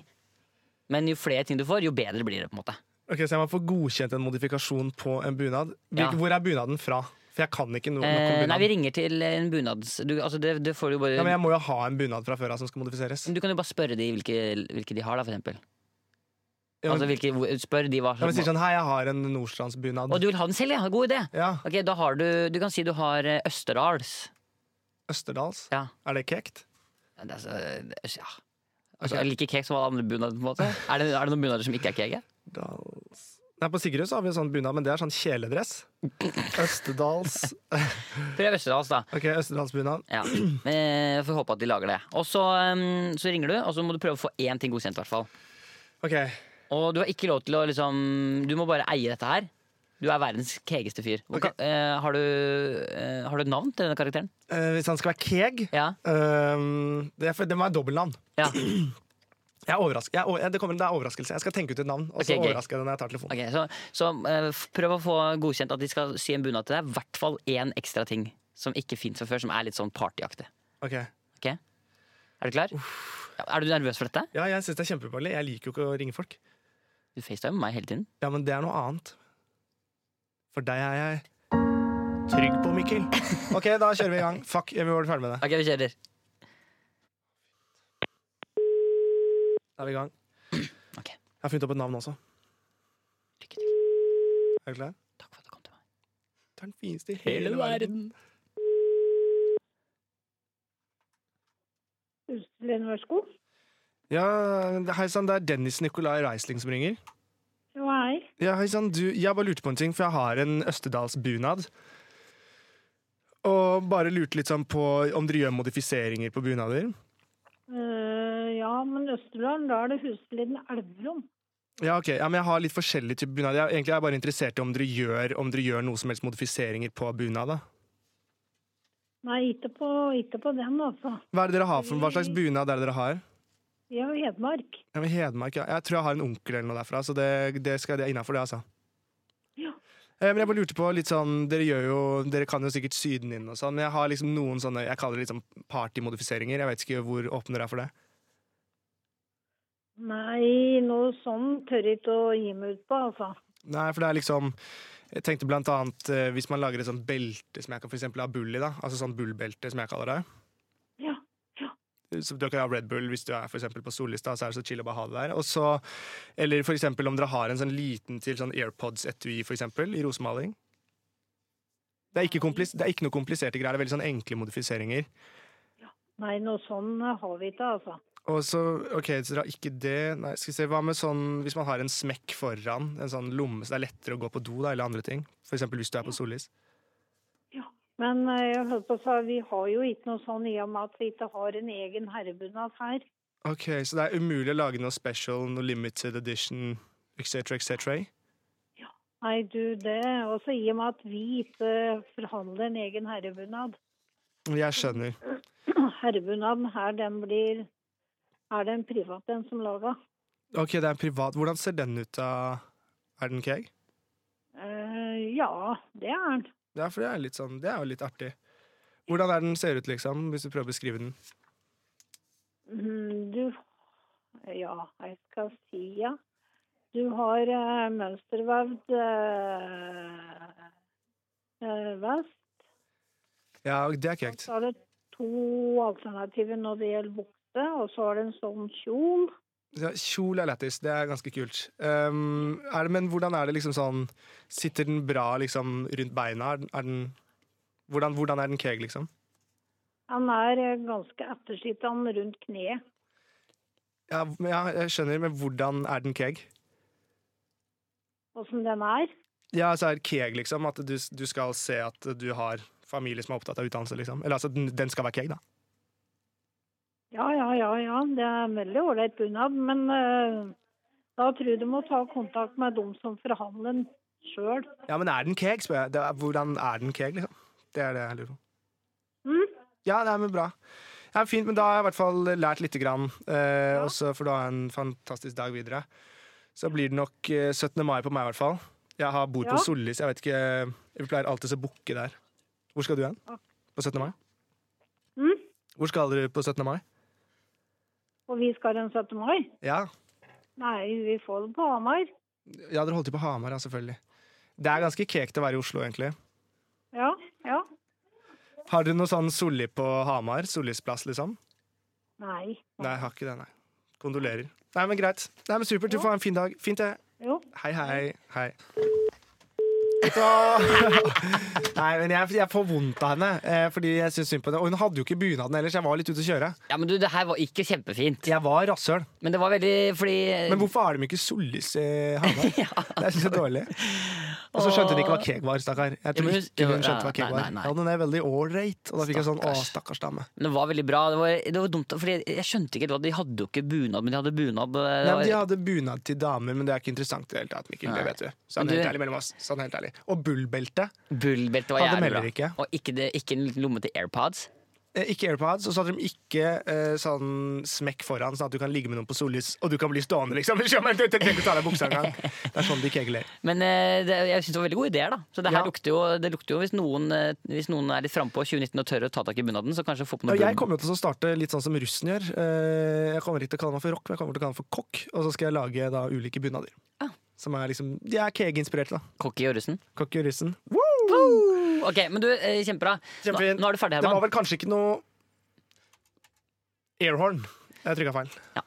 [SPEAKER 1] Men jo flere ting du får, jo bedre blir det. på en måte
[SPEAKER 2] Ok, Så jeg må få godkjent en modifikasjon på en bunad. Hvil-
[SPEAKER 1] Ja.
[SPEAKER 2] Hvor er bunaden fra? For jeg kan ikke noe nok
[SPEAKER 1] eh,
[SPEAKER 2] om
[SPEAKER 1] Nei, vi
[SPEAKER 2] bunad.
[SPEAKER 1] ringer til en bunads... Du, altså det, det får du, jo bare,
[SPEAKER 2] Ja, men jeg må jo ha en bunad fra før av som skal modifiseres.
[SPEAKER 1] du kan jo bare spørre de hvilke, hvilke de har, da, for eksempel.
[SPEAKER 2] Ja,
[SPEAKER 1] Altså,
[SPEAKER 2] men,
[SPEAKER 1] hvilke, hvor- spør de hva
[SPEAKER 2] ja, men sånn-
[SPEAKER 1] slags
[SPEAKER 2] sier sånn, Hei, jeg har en Nordstrandsbunad.
[SPEAKER 1] Og du vil ha den selv, ja? God idé!
[SPEAKER 2] Ja,
[SPEAKER 1] Ok, da har Du du kan si du har eh, Østerdals.
[SPEAKER 2] Østerdals.
[SPEAKER 1] Ja.
[SPEAKER 2] Er det kekt?
[SPEAKER 1] Ja, Det er så, det er, ja. Altså, er det like kek som alle andre bunader? på en måte? Er det, er det noen bunader som ikke er keke?
[SPEAKER 2] Dals. Nei, På Sigrud så har vi en sånn bunad, men det er sånn
[SPEAKER 1] <laughs>
[SPEAKER 2] kjeledress. Østerdals
[SPEAKER 1] Prøv Østerdals, da.
[SPEAKER 2] Ok, Østerdalsbunad.
[SPEAKER 1] Ja. Eh, Får håpe at de lager det. Og så, um, så ringer du, og så må du prøve å få én ting godkjent. Hvertfall.
[SPEAKER 2] Ok, eh,
[SPEAKER 1] Og du har ikke lov til å liksom Du må bare eie dette her. Du er verdens kegeste fyr. Og
[SPEAKER 2] Ok.
[SPEAKER 1] ka- eh, har, du, eh, har du et navn til denne karakteren?
[SPEAKER 2] eh, Hvis han skal være keg
[SPEAKER 1] Ja.
[SPEAKER 2] ehm, det, er for- det må være dobbeltnavn.
[SPEAKER 1] ja.
[SPEAKER 2] <clears throat> Jeg er overras- jeg er, o- det, kommer, det er overraskelse. Jeg skal tenke ut et navn, og så
[SPEAKER 1] Ok, gøy.
[SPEAKER 2] overrasker jeg deg når jeg tar telefonen.
[SPEAKER 1] Ok, så så eh, f- prøv å få godkjent at de skal sy en bunad til deg. I hvert fall én ekstra ting som ikke fins fra før, som er litt sånn partyaktig.
[SPEAKER 2] Ok.
[SPEAKER 1] Ok? Er du klar? Ja, Er du nervøs for dette?
[SPEAKER 2] Ja, jeg syns det er kjempefarlig. Jeg liker jo ikke å ringe folk.
[SPEAKER 1] Du facetimer meg hele tiden.
[SPEAKER 2] Ja, men det er noe annet. For deg er jeg trygg på,
[SPEAKER 1] <laughs>
[SPEAKER 2] Mikkel. Ok, da kjører vi i gang. Fuck, vi var ferdig med det.
[SPEAKER 1] Ok, vi kjører.
[SPEAKER 2] Da er vi i gang.
[SPEAKER 1] <clears throat> Ok.
[SPEAKER 2] Jeg har funnet opp et navn også.
[SPEAKER 1] Lykke til.
[SPEAKER 2] Er du klar?
[SPEAKER 1] Takk for at du kom til meg.
[SPEAKER 2] Det er den fineste i hele verden.
[SPEAKER 3] Lene, vær så god.
[SPEAKER 2] Ja, hei sann, det er Dennis Nicolai Reisling som ringer.
[SPEAKER 3] Jo, hei.
[SPEAKER 2] Ja, hei sann, du, jeg bare lurte på en ting, for jeg har en Østerdalsbunad. Og bare lurte litt sånn på om dere gjør modifiseringer på bunader.
[SPEAKER 3] Eh, ja, men Østerdalen, da er det Husliden Elverum.
[SPEAKER 2] Ja, ok. Ja, men jeg har litt forskjellig type bunad. Jeg, egentlig er jeg bare interessert i om dere gjør, om dere gjør noe som helst modifiseringer på bunad. da.
[SPEAKER 3] Nei, ikke på, ikke på den, altså.
[SPEAKER 2] Hva, er det dere har for, hva slags bunad er det dere har?
[SPEAKER 3] Vi er jo Hedmark.
[SPEAKER 2] Ja, men Hedmark, ja. Jeg tror jeg har en onkel eller noe derfra, så det, det skal det er innafor, det, altså.
[SPEAKER 3] Ja.
[SPEAKER 2] Eh, Men jeg bare lurte på litt sånn, Dere gjør jo, dere kan jo sikkert sy den inn, og sånn, men jeg har liksom noen sånne jeg kaller det liksom partymodifiseringer. Jeg vet ikke hvor åpne dere er for det.
[SPEAKER 3] Nei, noe sånn tør jeg ikke å gi meg ut på, altså.
[SPEAKER 2] Nei, for det er liksom Jeg tenkte blant annet eh, hvis man lager et sånt belte som jeg kan for eksempel ha bull i, da. Altså sånn bullbelte, som jeg kaller det.
[SPEAKER 3] Ja.
[SPEAKER 2] Så dere kan ha Red Bull hvis du er for eksempel på sollista, så er det så chill å bare ha det der. Og så, eller for eksempel om dere har en sånn liten til sånn AirPods-etui, for eksempel, i rosemaling. Det er, ikke komplis- det er ikke noe kompliserte greier, det er veldig sånn enkle modifiseringer.
[SPEAKER 3] Nei, noe sånn har vi ikke, altså.
[SPEAKER 2] Og så, ok, så dere har ikke det Nei, skal vi se, hva med sånn hvis man har en smekk foran, en sånn lomme, så det er lettere å gå på do, da, eller andre ting? For eksempel hvis du er på sollys.
[SPEAKER 3] Ja. Men eh, jeg holdt på å si, vi har jo ikke noe sånn i og med at vi ikke har en egen herrebunad her.
[SPEAKER 2] Ok, Så det er umulig å lage noe special, noe limited edition etc., etc.?
[SPEAKER 3] Nei, du, det også i og med at vi ikke forhandler en egen herrebunad. <clears throat>
[SPEAKER 2] Jeg skjønner.
[SPEAKER 3] Herrebunaden her, den blir Er det en privat den som lager?
[SPEAKER 2] Ok, det er privat. Hvordan ser den ut, da? Er den keg?
[SPEAKER 3] Eh, ja, det er den.
[SPEAKER 2] Ja, for det er litt sånn, det er jo litt artig. Hvordan er den ser ut, liksom, hvis du prøver å beskrive den?
[SPEAKER 3] Mm, Du Ja, jeg skal si ja. Du har eh, mønstervevd eh, eh, vest.
[SPEAKER 2] Ja, det er
[SPEAKER 3] Og
[SPEAKER 2] kekt.
[SPEAKER 3] Så har du to alternativer når det gjelder bukse, og så har du en sånn kjol.
[SPEAKER 2] Ja, kjol er lættis, det er ganske kult. Ehm, er det, men hvordan er det liksom sånn Sitter den bra liksom rundt beina? Er den, er den hvordan, hvordan er den keg, liksom?
[SPEAKER 3] Han er eh, ganske ettersittende rundt kneet.
[SPEAKER 2] Ja, men ja, jeg skjønner, men hvordan er den keg?
[SPEAKER 3] Åssen den er.
[SPEAKER 2] Ja, altså er keg liksom at du, du skal se at du har familie som er opptatt av utdannelse, liksom? Eller altså, den, den skal være keg, da.
[SPEAKER 3] Ja, ja, ja, ja. Det er en veldig ålreit bunad, men eh, da tror jeg du må ta kontakt med dem som forhandler den sjøl.
[SPEAKER 2] Ja, men er den keg, spør jeg. Det er, hvordan er den keg, liksom? Det er det jeg lurer på.
[SPEAKER 3] Mm.
[SPEAKER 2] Ja, nei, men bra. Ja, fint, men da har jeg i hvert fall lært lite grann. Eh, Og så får du ha en fantastisk dag videre. Så blir det nok eh, 17. mai på meg, i hvert fall. Jeg har bor
[SPEAKER 3] Ja.
[SPEAKER 2] på Sollis. Jeg vet ikke eh, Vi pleier alltid å bukke der. Hvor skal du hen?
[SPEAKER 3] Ok.
[SPEAKER 2] På 17. mai?
[SPEAKER 3] Mm.
[SPEAKER 2] Hvor skal dere på 17. mai?
[SPEAKER 3] Og vi skal den 17. mai.
[SPEAKER 2] Ja,
[SPEAKER 3] Nei, vi får det på Hamar.
[SPEAKER 2] ja dere holdt til på Hamar, ja, selvfølgelig. Det er ganske kekt å være i Oslo, egentlig.
[SPEAKER 3] Ja, ja.
[SPEAKER 2] Har dere noe sånn Solli på Hamar? Sollisplass, liksom?
[SPEAKER 3] Nei.
[SPEAKER 2] Nei, jeg har ikke det, nei. Kondolerer. Nei, men greit. Nei, men Supert, du får ha en fin dag. Fint, det.
[SPEAKER 3] Jo.
[SPEAKER 2] Hei, hei. Hei. Så... <laughs> Nei, men jeg, jeg får vondt av henne, eh, fordi jeg syns synd på henne. Og hun hadde jo ikke bunaden ellers, jeg var litt ute å kjøre.
[SPEAKER 1] Ja, men du, Det her var ikke kjempefint.
[SPEAKER 2] Jeg var rasshøl.
[SPEAKER 1] Men det var veldig fordi
[SPEAKER 2] Men hvorfor har de ikke Sollis i
[SPEAKER 1] <laughs>
[SPEAKER 2] Hamar?
[SPEAKER 1] Ja.
[SPEAKER 2] Det syns jeg er dårlig. Og så skjønte hun ikke hva keg var, stakkar. Jeg
[SPEAKER 1] Ja,
[SPEAKER 2] tror
[SPEAKER 1] men hun-
[SPEAKER 2] ikke hun
[SPEAKER 1] jo,
[SPEAKER 2] skjønte hva keg
[SPEAKER 1] nei,
[SPEAKER 2] var.
[SPEAKER 1] nei, nei.
[SPEAKER 2] Ja, den er veldig ålreit, og da fikk jeg sånn å,
[SPEAKER 1] Stakkars.
[SPEAKER 2] stakkars dame.
[SPEAKER 1] Men Det var veldig bra. Det var, det var dumt, fordi jeg skjønte ikke helt hva De hadde jo ikke bunad, men de hadde bunad. eh, Det
[SPEAKER 2] Nei,
[SPEAKER 1] var,
[SPEAKER 2] men de hadde bunad til damer, men det er ikke interessant i det hele tatt, Mikkel.
[SPEAKER 1] Nei.
[SPEAKER 2] Det vet du.
[SPEAKER 1] Men
[SPEAKER 2] Sånn
[SPEAKER 1] du-
[SPEAKER 2] helt ærlig mellom oss. Sånn helt ærlig. Og bullbelte.
[SPEAKER 1] Bullbelte var
[SPEAKER 2] Hadde
[SPEAKER 1] jævlig bra.
[SPEAKER 2] melder ikke.
[SPEAKER 1] Og ikke, det, ikke en liten lomme til AirPods.
[SPEAKER 2] Eh, Ikke AirPods, og så hadde de ikke eh, sånn smekk foran, sånn at du kan ligge med noen på sollys, og du kan bli stående, liksom. <laughs> Du skjønner, du trenger ikke ta deg buksa engang. Det er sånn de kegler.
[SPEAKER 1] Men eh, det, jeg synes det var veldig gode ideer. da Så det her
[SPEAKER 2] Ja.
[SPEAKER 1] lukter jo, det lukter jo hvis, noen, eh, hvis noen er litt frampå 2019 og tør å ta tak i bunaden, så kanskje få på noe
[SPEAKER 2] Og jeg
[SPEAKER 1] bunn.
[SPEAKER 2] kommer jo til å starte litt sånn som russen gjør. Eh, Jeg kommer ikke til å kalle meg for rock, men jeg kommer til å kalle meg for kokk, og så skal jeg lage da ulike bunader.
[SPEAKER 1] Ah.
[SPEAKER 2] Som er liksom De er keg-inspirerte, da.
[SPEAKER 1] Cocky og russen.
[SPEAKER 2] Kokk og russen.
[SPEAKER 1] Ok, men du, eh, kjempebra. Nå,
[SPEAKER 2] Kjempefint.
[SPEAKER 1] nå er du ferdig,
[SPEAKER 2] Det var
[SPEAKER 1] Herman.
[SPEAKER 2] vel kanskje ikke noe airhorn. Jeg trykka feil.
[SPEAKER 1] Ja.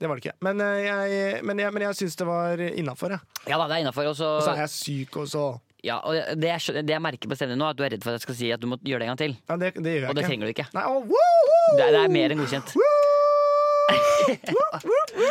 [SPEAKER 2] Det var det ikke. Men eh, jeg, men jeg, men jeg syns det var innafor. Og
[SPEAKER 1] Ja da, det er innafor. Og
[SPEAKER 2] så
[SPEAKER 1] så-
[SPEAKER 2] er jeg syk også.
[SPEAKER 1] ja, og det, jeg skjønner- det jeg merker på stemmen nå, er at du er redd for at jeg skal si at du må gjøre det en gang til.
[SPEAKER 2] Ja, det, det gjør jeg
[SPEAKER 1] Og det
[SPEAKER 2] ikke.
[SPEAKER 1] trenger du ikke.
[SPEAKER 2] Nei, å, woohoo!
[SPEAKER 1] Det, er- det er mer enn godkjent. Og det er, <laughs>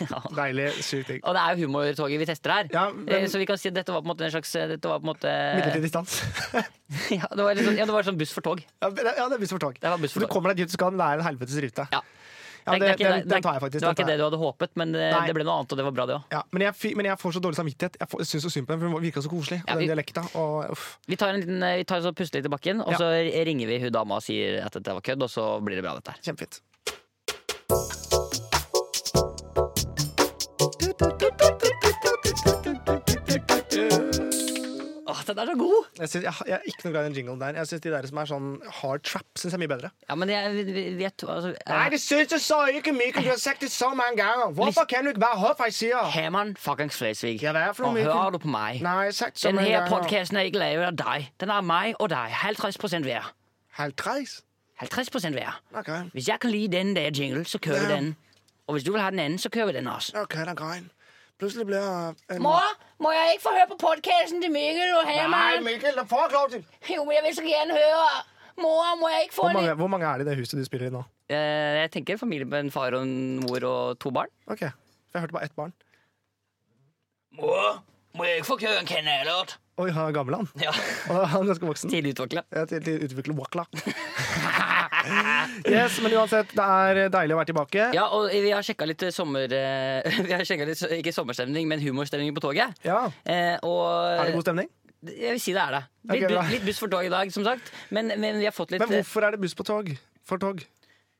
[SPEAKER 1] ja.
[SPEAKER 2] Deilig. Sykt digg.
[SPEAKER 1] Og det er jo humortoget vi tester her.
[SPEAKER 2] Ja, men-
[SPEAKER 1] Eh, Så vi kan si at dette var på en måte en slags eh, dette var på en måte,
[SPEAKER 2] Midlertidig distans.
[SPEAKER 1] <laughs>
[SPEAKER 2] <laughs>
[SPEAKER 1] ja, det var litt sånn, ja, det var sånn buss for tog.
[SPEAKER 2] ja, det ja, det er buss for tog.
[SPEAKER 1] Det var buss for
[SPEAKER 2] Du
[SPEAKER 1] tog.
[SPEAKER 2] kommer deg dit du skal, men det er en helvetes rute.
[SPEAKER 1] Ja.
[SPEAKER 2] Ja,
[SPEAKER 1] Det-
[SPEAKER 2] det,
[SPEAKER 1] det er ikke det-
[SPEAKER 2] den,
[SPEAKER 1] det er-
[SPEAKER 2] den tar jeg faktisk.
[SPEAKER 1] Det var
[SPEAKER 2] den
[SPEAKER 1] ikke
[SPEAKER 2] tar
[SPEAKER 1] det
[SPEAKER 2] jeg.
[SPEAKER 1] du hadde håpet, men det,
[SPEAKER 2] Nei.
[SPEAKER 1] det ble noe annet, og det var bra, det òg.
[SPEAKER 2] Ja, men, jeg, fi- men jeg får så dårlig samvittighet. Jeg, får, jeg syns så synd på henne, for hun virka så koselig.
[SPEAKER 1] Ja,
[SPEAKER 2] og den
[SPEAKER 1] vi-
[SPEAKER 2] dialekta. Og, uff.
[SPEAKER 1] Vi tar en liten, eh, vi tar så puster litt i bakken, og
[SPEAKER 2] Ja.
[SPEAKER 1] så ringer vi hun dama og sier at dette var kødd, og så blir det bra, dette her.
[SPEAKER 2] Kjempefint.
[SPEAKER 1] Åh, den er så god!
[SPEAKER 2] Jeg, synes, jeg, jeg er ikke noe glad i den jinglen der. Jeg synes De der som er sånn hard trap, synes jeg er mye bedre.
[SPEAKER 1] Ja, men jeg vi- vi- vet altså, eh,
[SPEAKER 2] det syns du så ikke, Mikkel! Du har sagt det så mange ganger! Hvorfor kan du ikke bare høre hva jeg sier?
[SPEAKER 1] Herman fuckings Flesvig,
[SPEAKER 2] Ja, hva er det for noe,
[SPEAKER 1] nå
[SPEAKER 2] Mikkel?
[SPEAKER 1] hører du på meg.
[SPEAKER 2] Nei, jeg har sagt så eh,
[SPEAKER 1] Den
[SPEAKER 2] mange
[SPEAKER 1] her
[SPEAKER 2] ganger.
[SPEAKER 1] podkasten er ikke laget av deg. Den er meg og deg. 50 hver.
[SPEAKER 2] 50?
[SPEAKER 1] 50 hver.
[SPEAKER 2] Ok,
[SPEAKER 1] Hvis jeg kan lide den der jingle, så kører vi
[SPEAKER 2] Ja.
[SPEAKER 1] den. Og hvis du vil ha den anden, så kører vi den altså. også.
[SPEAKER 2] ok, det er greit. Plutselig blir jeg en...
[SPEAKER 1] Mor, må jeg ikke få høre på podcasten til Mikkel og
[SPEAKER 2] Nei,
[SPEAKER 1] Herman?
[SPEAKER 2] Mikkel, det får jeg ikke lov til!
[SPEAKER 1] Jo, men jeg vil så gjerne høre. Mor, må jeg ikke få
[SPEAKER 2] Hvor mange,
[SPEAKER 1] en...
[SPEAKER 2] hvor mange er det i det huset du spiller i nå?
[SPEAKER 1] Eh, jeg tenker familie med en far og en mor og to barn.
[SPEAKER 2] Ok, for jeg hørte bare ett barn.
[SPEAKER 1] Mor, må jeg ikke få køre en kanalert?
[SPEAKER 2] Oi, han er gammel, han.
[SPEAKER 1] Ja,
[SPEAKER 2] Og han er ganske voksen.
[SPEAKER 1] <laughs> Tidlig utvikla.
[SPEAKER 2] Jeg er Eh, til, til å utvikle
[SPEAKER 1] <laughs>
[SPEAKER 2] wakla. Yes, men uansett, det er deilig å være tilbake.
[SPEAKER 1] Ja, og vi har sjekka litt sommer... eh, <laughs> Vi har sjekket litt, ikke sommerstemning, men humorstemning på toget.
[SPEAKER 2] Ja.
[SPEAKER 1] Eh, og
[SPEAKER 2] Er det god stemning?
[SPEAKER 1] Eh, Jeg vil si det er det. Litt,
[SPEAKER 2] Ok,
[SPEAKER 1] bu-
[SPEAKER 2] bra.
[SPEAKER 1] litt buss for tog i dag, som sagt. Men, men vi har fått litt
[SPEAKER 2] Men hvorfor er det buss på tog? For tog?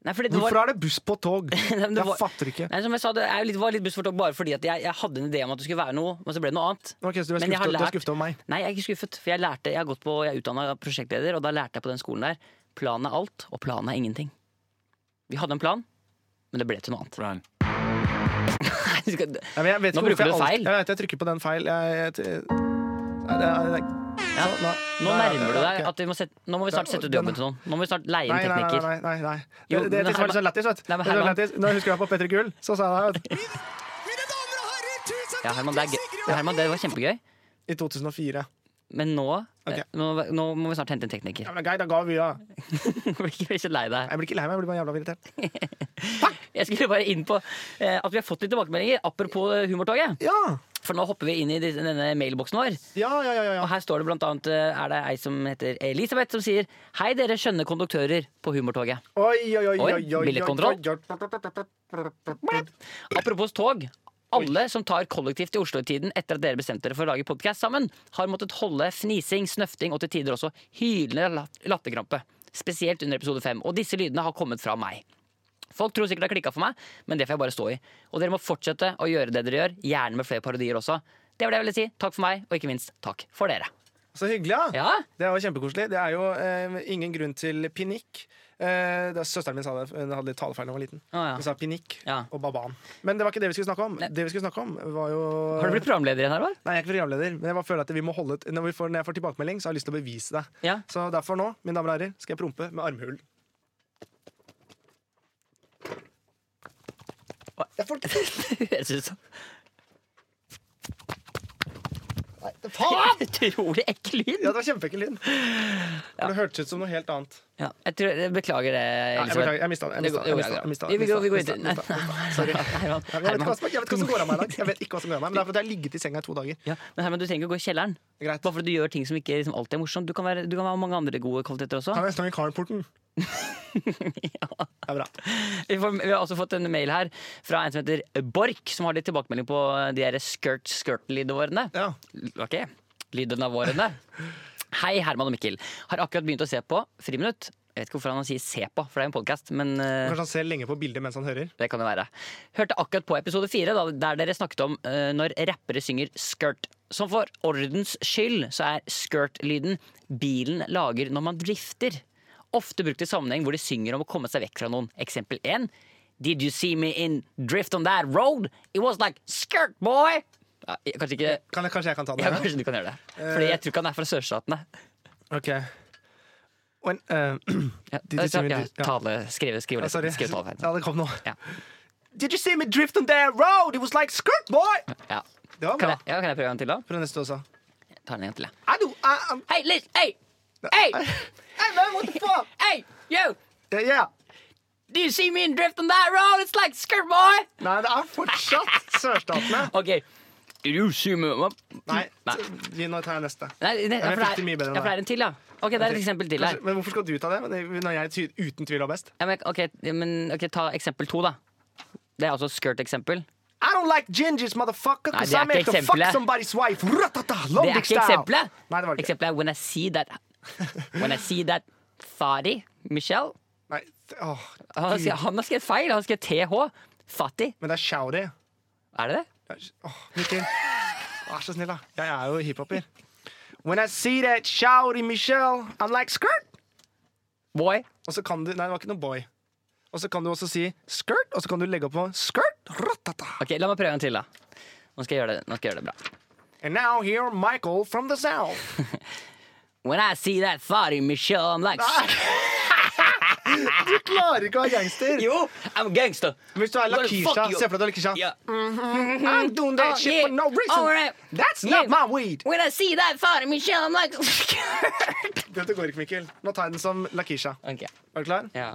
[SPEAKER 1] Nei, fordi det var,
[SPEAKER 2] Hvorfor er det buss på tog?
[SPEAKER 1] men <laughs> det
[SPEAKER 2] Jeg
[SPEAKER 1] var-
[SPEAKER 2] fatter ikke.
[SPEAKER 1] nei, som jeg sa, det er jo litt, var litt buss for tog bare fordi at jeg, jeg hadde en idé om at det skulle være noe, men så ble det noe annet.
[SPEAKER 2] Ok, så du er
[SPEAKER 1] Men jeg har
[SPEAKER 2] skuffet, du er
[SPEAKER 1] lært-
[SPEAKER 2] skuffet over meg.
[SPEAKER 1] Nei, jeg er ikke skuffet, for jeg lærte, jeg har gått på, jeg er utdannet prosjektleder, og da lærte jeg på den skolen der, planen er alt, og planen er ingenting. Vi hadde en plan, men det ble til noe annet.
[SPEAKER 4] Brian.
[SPEAKER 1] Nei, du skal-
[SPEAKER 2] Nei, men jeg vet
[SPEAKER 1] Nå
[SPEAKER 2] ikke hvorfor
[SPEAKER 1] bruker du
[SPEAKER 2] jeg alltid-
[SPEAKER 1] feil.
[SPEAKER 2] Jeg vet, jeg trykker på den feil. Jeg, jeg, Nei, det er- det er-
[SPEAKER 1] Ja,
[SPEAKER 2] Så, nei.
[SPEAKER 1] Nå
[SPEAKER 2] Nei,
[SPEAKER 1] nærmer du
[SPEAKER 2] nei,
[SPEAKER 1] deg
[SPEAKER 2] ok.
[SPEAKER 1] at vi må sette, nå må vi snart sette ut jobben til noen. Nå må vi snart leie inn
[SPEAKER 2] Nei, nei, nei,
[SPEAKER 1] teknikker.
[SPEAKER 2] nei, nei, nei.
[SPEAKER 1] Jo,
[SPEAKER 2] Det, det,
[SPEAKER 1] men
[SPEAKER 2] det som var litt sånn lættis, vet du.
[SPEAKER 1] Nei, men
[SPEAKER 2] Det som var
[SPEAKER 1] Herman-
[SPEAKER 2] lættis. Nå husker jeg på Petter Gull, så sa han at
[SPEAKER 1] Ja, Herman, det, er gøy. Ja, Herman, det var kjempegøy,
[SPEAKER 2] i 2004
[SPEAKER 1] men nå,
[SPEAKER 2] Ok.
[SPEAKER 1] eh, nå, nå må vi snart hente en teknikker.
[SPEAKER 2] Ja, men Geir, da ga vi da.
[SPEAKER 1] <laughs> Blir ikke blir ikke lei deg.
[SPEAKER 2] Jeg blir ikke lei meg, jeg blir bare jævla irritert.
[SPEAKER 1] Jeg skulle bare inn på eh, at vi har fått litt tilbakemeldinger apropos eh, humortoget.
[SPEAKER 2] Ja,
[SPEAKER 1] For nå hopper vi inn i dis- denne mailboksen vår.
[SPEAKER 2] ja, ja, ja,
[SPEAKER 1] Og
[SPEAKER 2] ja.
[SPEAKER 1] her står det blant annet eh, er det ei som heter Elisabeth som sier Hei dere skjønne konduktører på humortoget.
[SPEAKER 2] Oi, oi, oi,
[SPEAKER 1] Oi,
[SPEAKER 2] oi, oi, oi.
[SPEAKER 1] billettkontroll.
[SPEAKER 2] oi.
[SPEAKER 1] Apropos tog. Alle som tar kollektivt i Oslo-tiden etter at dere bestemte dere for å lage podkast sammen, har måttet holde fnising, snøfting og til tider også hylende lat- latterkrampe. Spesielt under episode fem. Og disse lydene har kommet fra meg. Folk tror sikkert det har klikka for meg, men det får jeg bare stå i. Og dere må fortsette å gjøre det dere gjør, gjerne med flere parodier også. Det var det jeg ville si. Takk for meg, og ikke minst takk for dere.
[SPEAKER 2] Så hyggelig, ja.
[SPEAKER 1] Ja,
[SPEAKER 2] Det var kjempekoselig. Det er jo eh, ingen grunn til pinikk. Eh, det er søsteren min sa det, hun hadde litt talefeil da hun var liten.
[SPEAKER 1] Å, ja.
[SPEAKER 2] Hun sa pinikk
[SPEAKER 1] Ja.
[SPEAKER 2] og baban. Men det var ikke det vi skulle snakke om. Det vi skulle snakke om var jo
[SPEAKER 1] Har du blitt programleder igjen, Herman?
[SPEAKER 2] Nei, jeg er ikke programleder, men jeg bare føler at vi må holde et... når, vi får, når jeg får tilbakemelding, så har jeg lyst til å bevise det.
[SPEAKER 1] <laughs> Ja.
[SPEAKER 2] Så derfor nå, mine damer og herrer, skal jeg prompe med armhulen. Jeg får <laughs> ikke
[SPEAKER 1] Det høres ut som
[SPEAKER 2] Nei, faen!
[SPEAKER 1] <laughs> utrolig ekkel lyd.
[SPEAKER 2] Ja, det var kjempeekkel lyd. For Det hørtes ut som noe helt annet.
[SPEAKER 1] Ja, jeg, tror, jeg beklager det,
[SPEAKER 2] Nei, jeg beklager,
[SPEAKER 1] Elisabeth.
[SPEAKER 2] jeg mista den. Jeg mistet den, jeg mistet den, jeg
[SPEAKER 1] Vi-
[SPEAKER 2] mistet den,
[SPEAKER 1] vi går- vi går
[SPEAKER 2] mistet den,
[SPEAKER 1] videre. <laughs>
[SPEAKER 2] mistet den, mistet den.
[SPEAKER 1] Sorry. Herman,
[SPEAKER 2] Nei, men Jeg vet
[SPEAKER 1] Herman.
[SPEAKER 2] ikke hva som- jeg vet ikke hva som går av meg i dag. Jeg vet ikke hva som går av meg, men det er fordi jeg har ligget i senga i to dager.
[SPEAKER 1] Ja, men Herman, du trenger ikke å gå i kjelleren.
[SPEAKER 2] Greit.
[SPEAKER 1] Bare fordi du gjør ting som ikke liksom, alltid er morsomt. Du kan, være, du kan ha mange andre gode kvaliteter også. <laughs>
[SPEAKER 2] Kan jeg stå i carporten? Det er bra.
[SPEAKER 1] Vi, får, vi har også fått en mail her fra en som heter Borch, som har litt tilbakemelding på de her skirt skirt lydårene
[SPEAKER 2] Ja.
[SPEAKER 1] Ok, lyden av årene. Hei, Herman og Mikkel. Har akkurat begynt å se på Friminutt. Jeg vet ikke hvorfor han sier 'se på', for det er jo en podkast, men eh,
[SPEAKER 2] Kanskje han ser lenge på bildet mens han hører.
[SPEAKER 1] Det kan det være. Hørte akkurat på episode fire, da, der dere snakket om eh, når rappere synger skirt. Som for ordens skyld så er skirt-lyden bilen lager når man drifter. Ofte brukt i sammenheng hvor de synger om å komme seg vekk fra noen. Eksempel 1. Did you see me in drift on that road? It was like skirt, boy! Ja, jeg- kanskje ikke <laughs>
[SPEAKER 2] Kan jeg, kanskje jeg kan ta den?
[SPEAKER 1] ja,
[SPEAKER 2] her?
[SPEAKER 1] Kanskje du kan gjøre det. Fordi jeg tror ikke han er fra sørstatene.
[SPEAKER 2] Ok. When, uh,
[SPEAKER 1] Ja,
[SPEAKER 2] Did you see me in
[SPEAKER 1] ja,
[SPEAKER 2] drift- ja.
[SPEAKER 1] tale, skrive, skrive,
[SPEAKER 2] ja, <clears throat> sorry.
[SPEAKER 1] litt- skrive talefeil.
[SPEAKER 2] <laughs> Ja, det kom nå.
[SPEAKER 1] Ja.
[SPEAKER 2] Did you see me drift on that road? It was like skirt, boy!
[SPEAKER 1] Ja.
[SPEAKER 2] Det var
[SPEAKER 1] Kan,
[SPEAKER 2] bra.
[SPEAKER 1] jeg, ja, kan jeg prøve en til, da?
[SPEAKER 2] Prøv neste også.
[SPEAKER 1] Ta den en gang til, jeg.
[SPEAKER 2] I do, I, I'm,
[SPEAKER 1] Hei, Liz! Hei! Hei!
[SPEAKER 2] hey man, what <laughs> the fuck?
[SPEAKER 1] Hey, yo!
[SPEAKER 2] Yeah, yeah.
[SPEAKER 1] Do you see me in drift on that road? It's like skirt boy!
[SPEAKER 2] Nei, det er fortsatt
[SPEAKER 1] <laughs>
[SPEAKER 2] sørstatene.
[SPEAKER 1] Ok. Do you see me
[SPEAKER 2] Nei,
[SPEAKER 1] Nei.
[SPEAKER 2] gi nå tar jeg neste.
[SPEAKER 1] Nei, det,
[SPEAKER 2] Ja, jeg
[SPEAKER 1] for det
[SPEAKER 2] fikk det mye
[SPEAKER 1] er,
[SPEAKER 2] bedre enn
[SPEAKER 1] ja, for det er en til, ja. Ok, det er et eksempel til her.
[SPEAKER 2] Kanskje, men hvorfor skal du ta det? Det- Når jeg ty- uten tvil har best.
[SPEAKER 1] Ja, men, ok, men, ok, ta eksempel to, da. Det er altså skirt-eksempel.
[SPEAKER 2] I don't like gingers, motherfucker,
[SPEAKER 1] Nei, det
[SPEAKER 2] 'cause
[SPEAKER 1] er
[SPEAKER 2] I'm here
[SPEAKER 1] ikke
[SPEAKER 2] to fuck
[SPEAKER 1] eksempelet.
[SPEAKER 2] somebody's wife. Ratata,
[SPEAKER 1] Det er
[SPEAKER 2] Lomdic
[SPEAKER 1] ikke
[SPEAKER 2] style.
[SPEAKER 1] eksempelet!
[SPEAKER 2] Nei, det var det ikke.
[SPEAKER 1] Eksempelet er when I see
[SPEAKER 2] <laughs>
[SPEAKER 1] that When I see that Fadi Michelle.
[SPEAKER 2] Nei, th- åh,
[SPEAKER 1] Han har skrevet- han har skrevet feil. Han har skrevet TH. Fattig.
[SPEAKER 2] men det er shouty.
[SPEAKER 1] Er det det?
[SPEAKER 2] Åh, Mikkel. Vær så snill, da. Jeg er jo hiphoper. When I see that shouty Michelle, I'm like skirt.
[SPEAKER 1] Boy.
[SPEAKER 2] Og så kan du Nei, det var ikke noe boy. Og så kan du også si skirt, og så kan du legge opp på skirt. Ratata.
[SPEAKER 1] Ok, La meg prøve en til, da. Nå skal jeg gjøre det, nå skal jeg gjøre det bra.
[SPEAKER 2] And now here Michael from the south.
[SPEAKER 1] When I see that fatty Michelle, I'm like
[SPEAKER 2] Klarer ikke å være gangster.
[SPEAKER 1] Jo, I'm a gangster.
[SPEAKER 2] Hvis du er
[SPEAKER 1] Well, fuck
[SPEAKER 2] Lakisha,
[SPEAKER 1] you.
[SPEAKER 2] se for deg at du er Lakisha.
[SPEAKER 1] Yeah.
[SPEAKER 2] I'm doing that
[SPEAKER 1] Oh,
[SPEAKER 2] shit
[SPEAKER 1] yeah.
[SPEAKER 2] for no reason.
[SPEAKER 1] All right.
[SPEAKER 2] That's
[SPEAKER 1] Yeah.
[SPEAKER 2] not my weed.
[SPEAKER 1] When I see that fatty Michelle, I'm like <laughs>
[SPEAKER 2] Dette går ikke, Mikkel. Nå tar jeg den som Lakisha.
[SPEAKER 1] Ok,
[SPEAKER 2] Er du klar?
[SPEAKER 1] ja.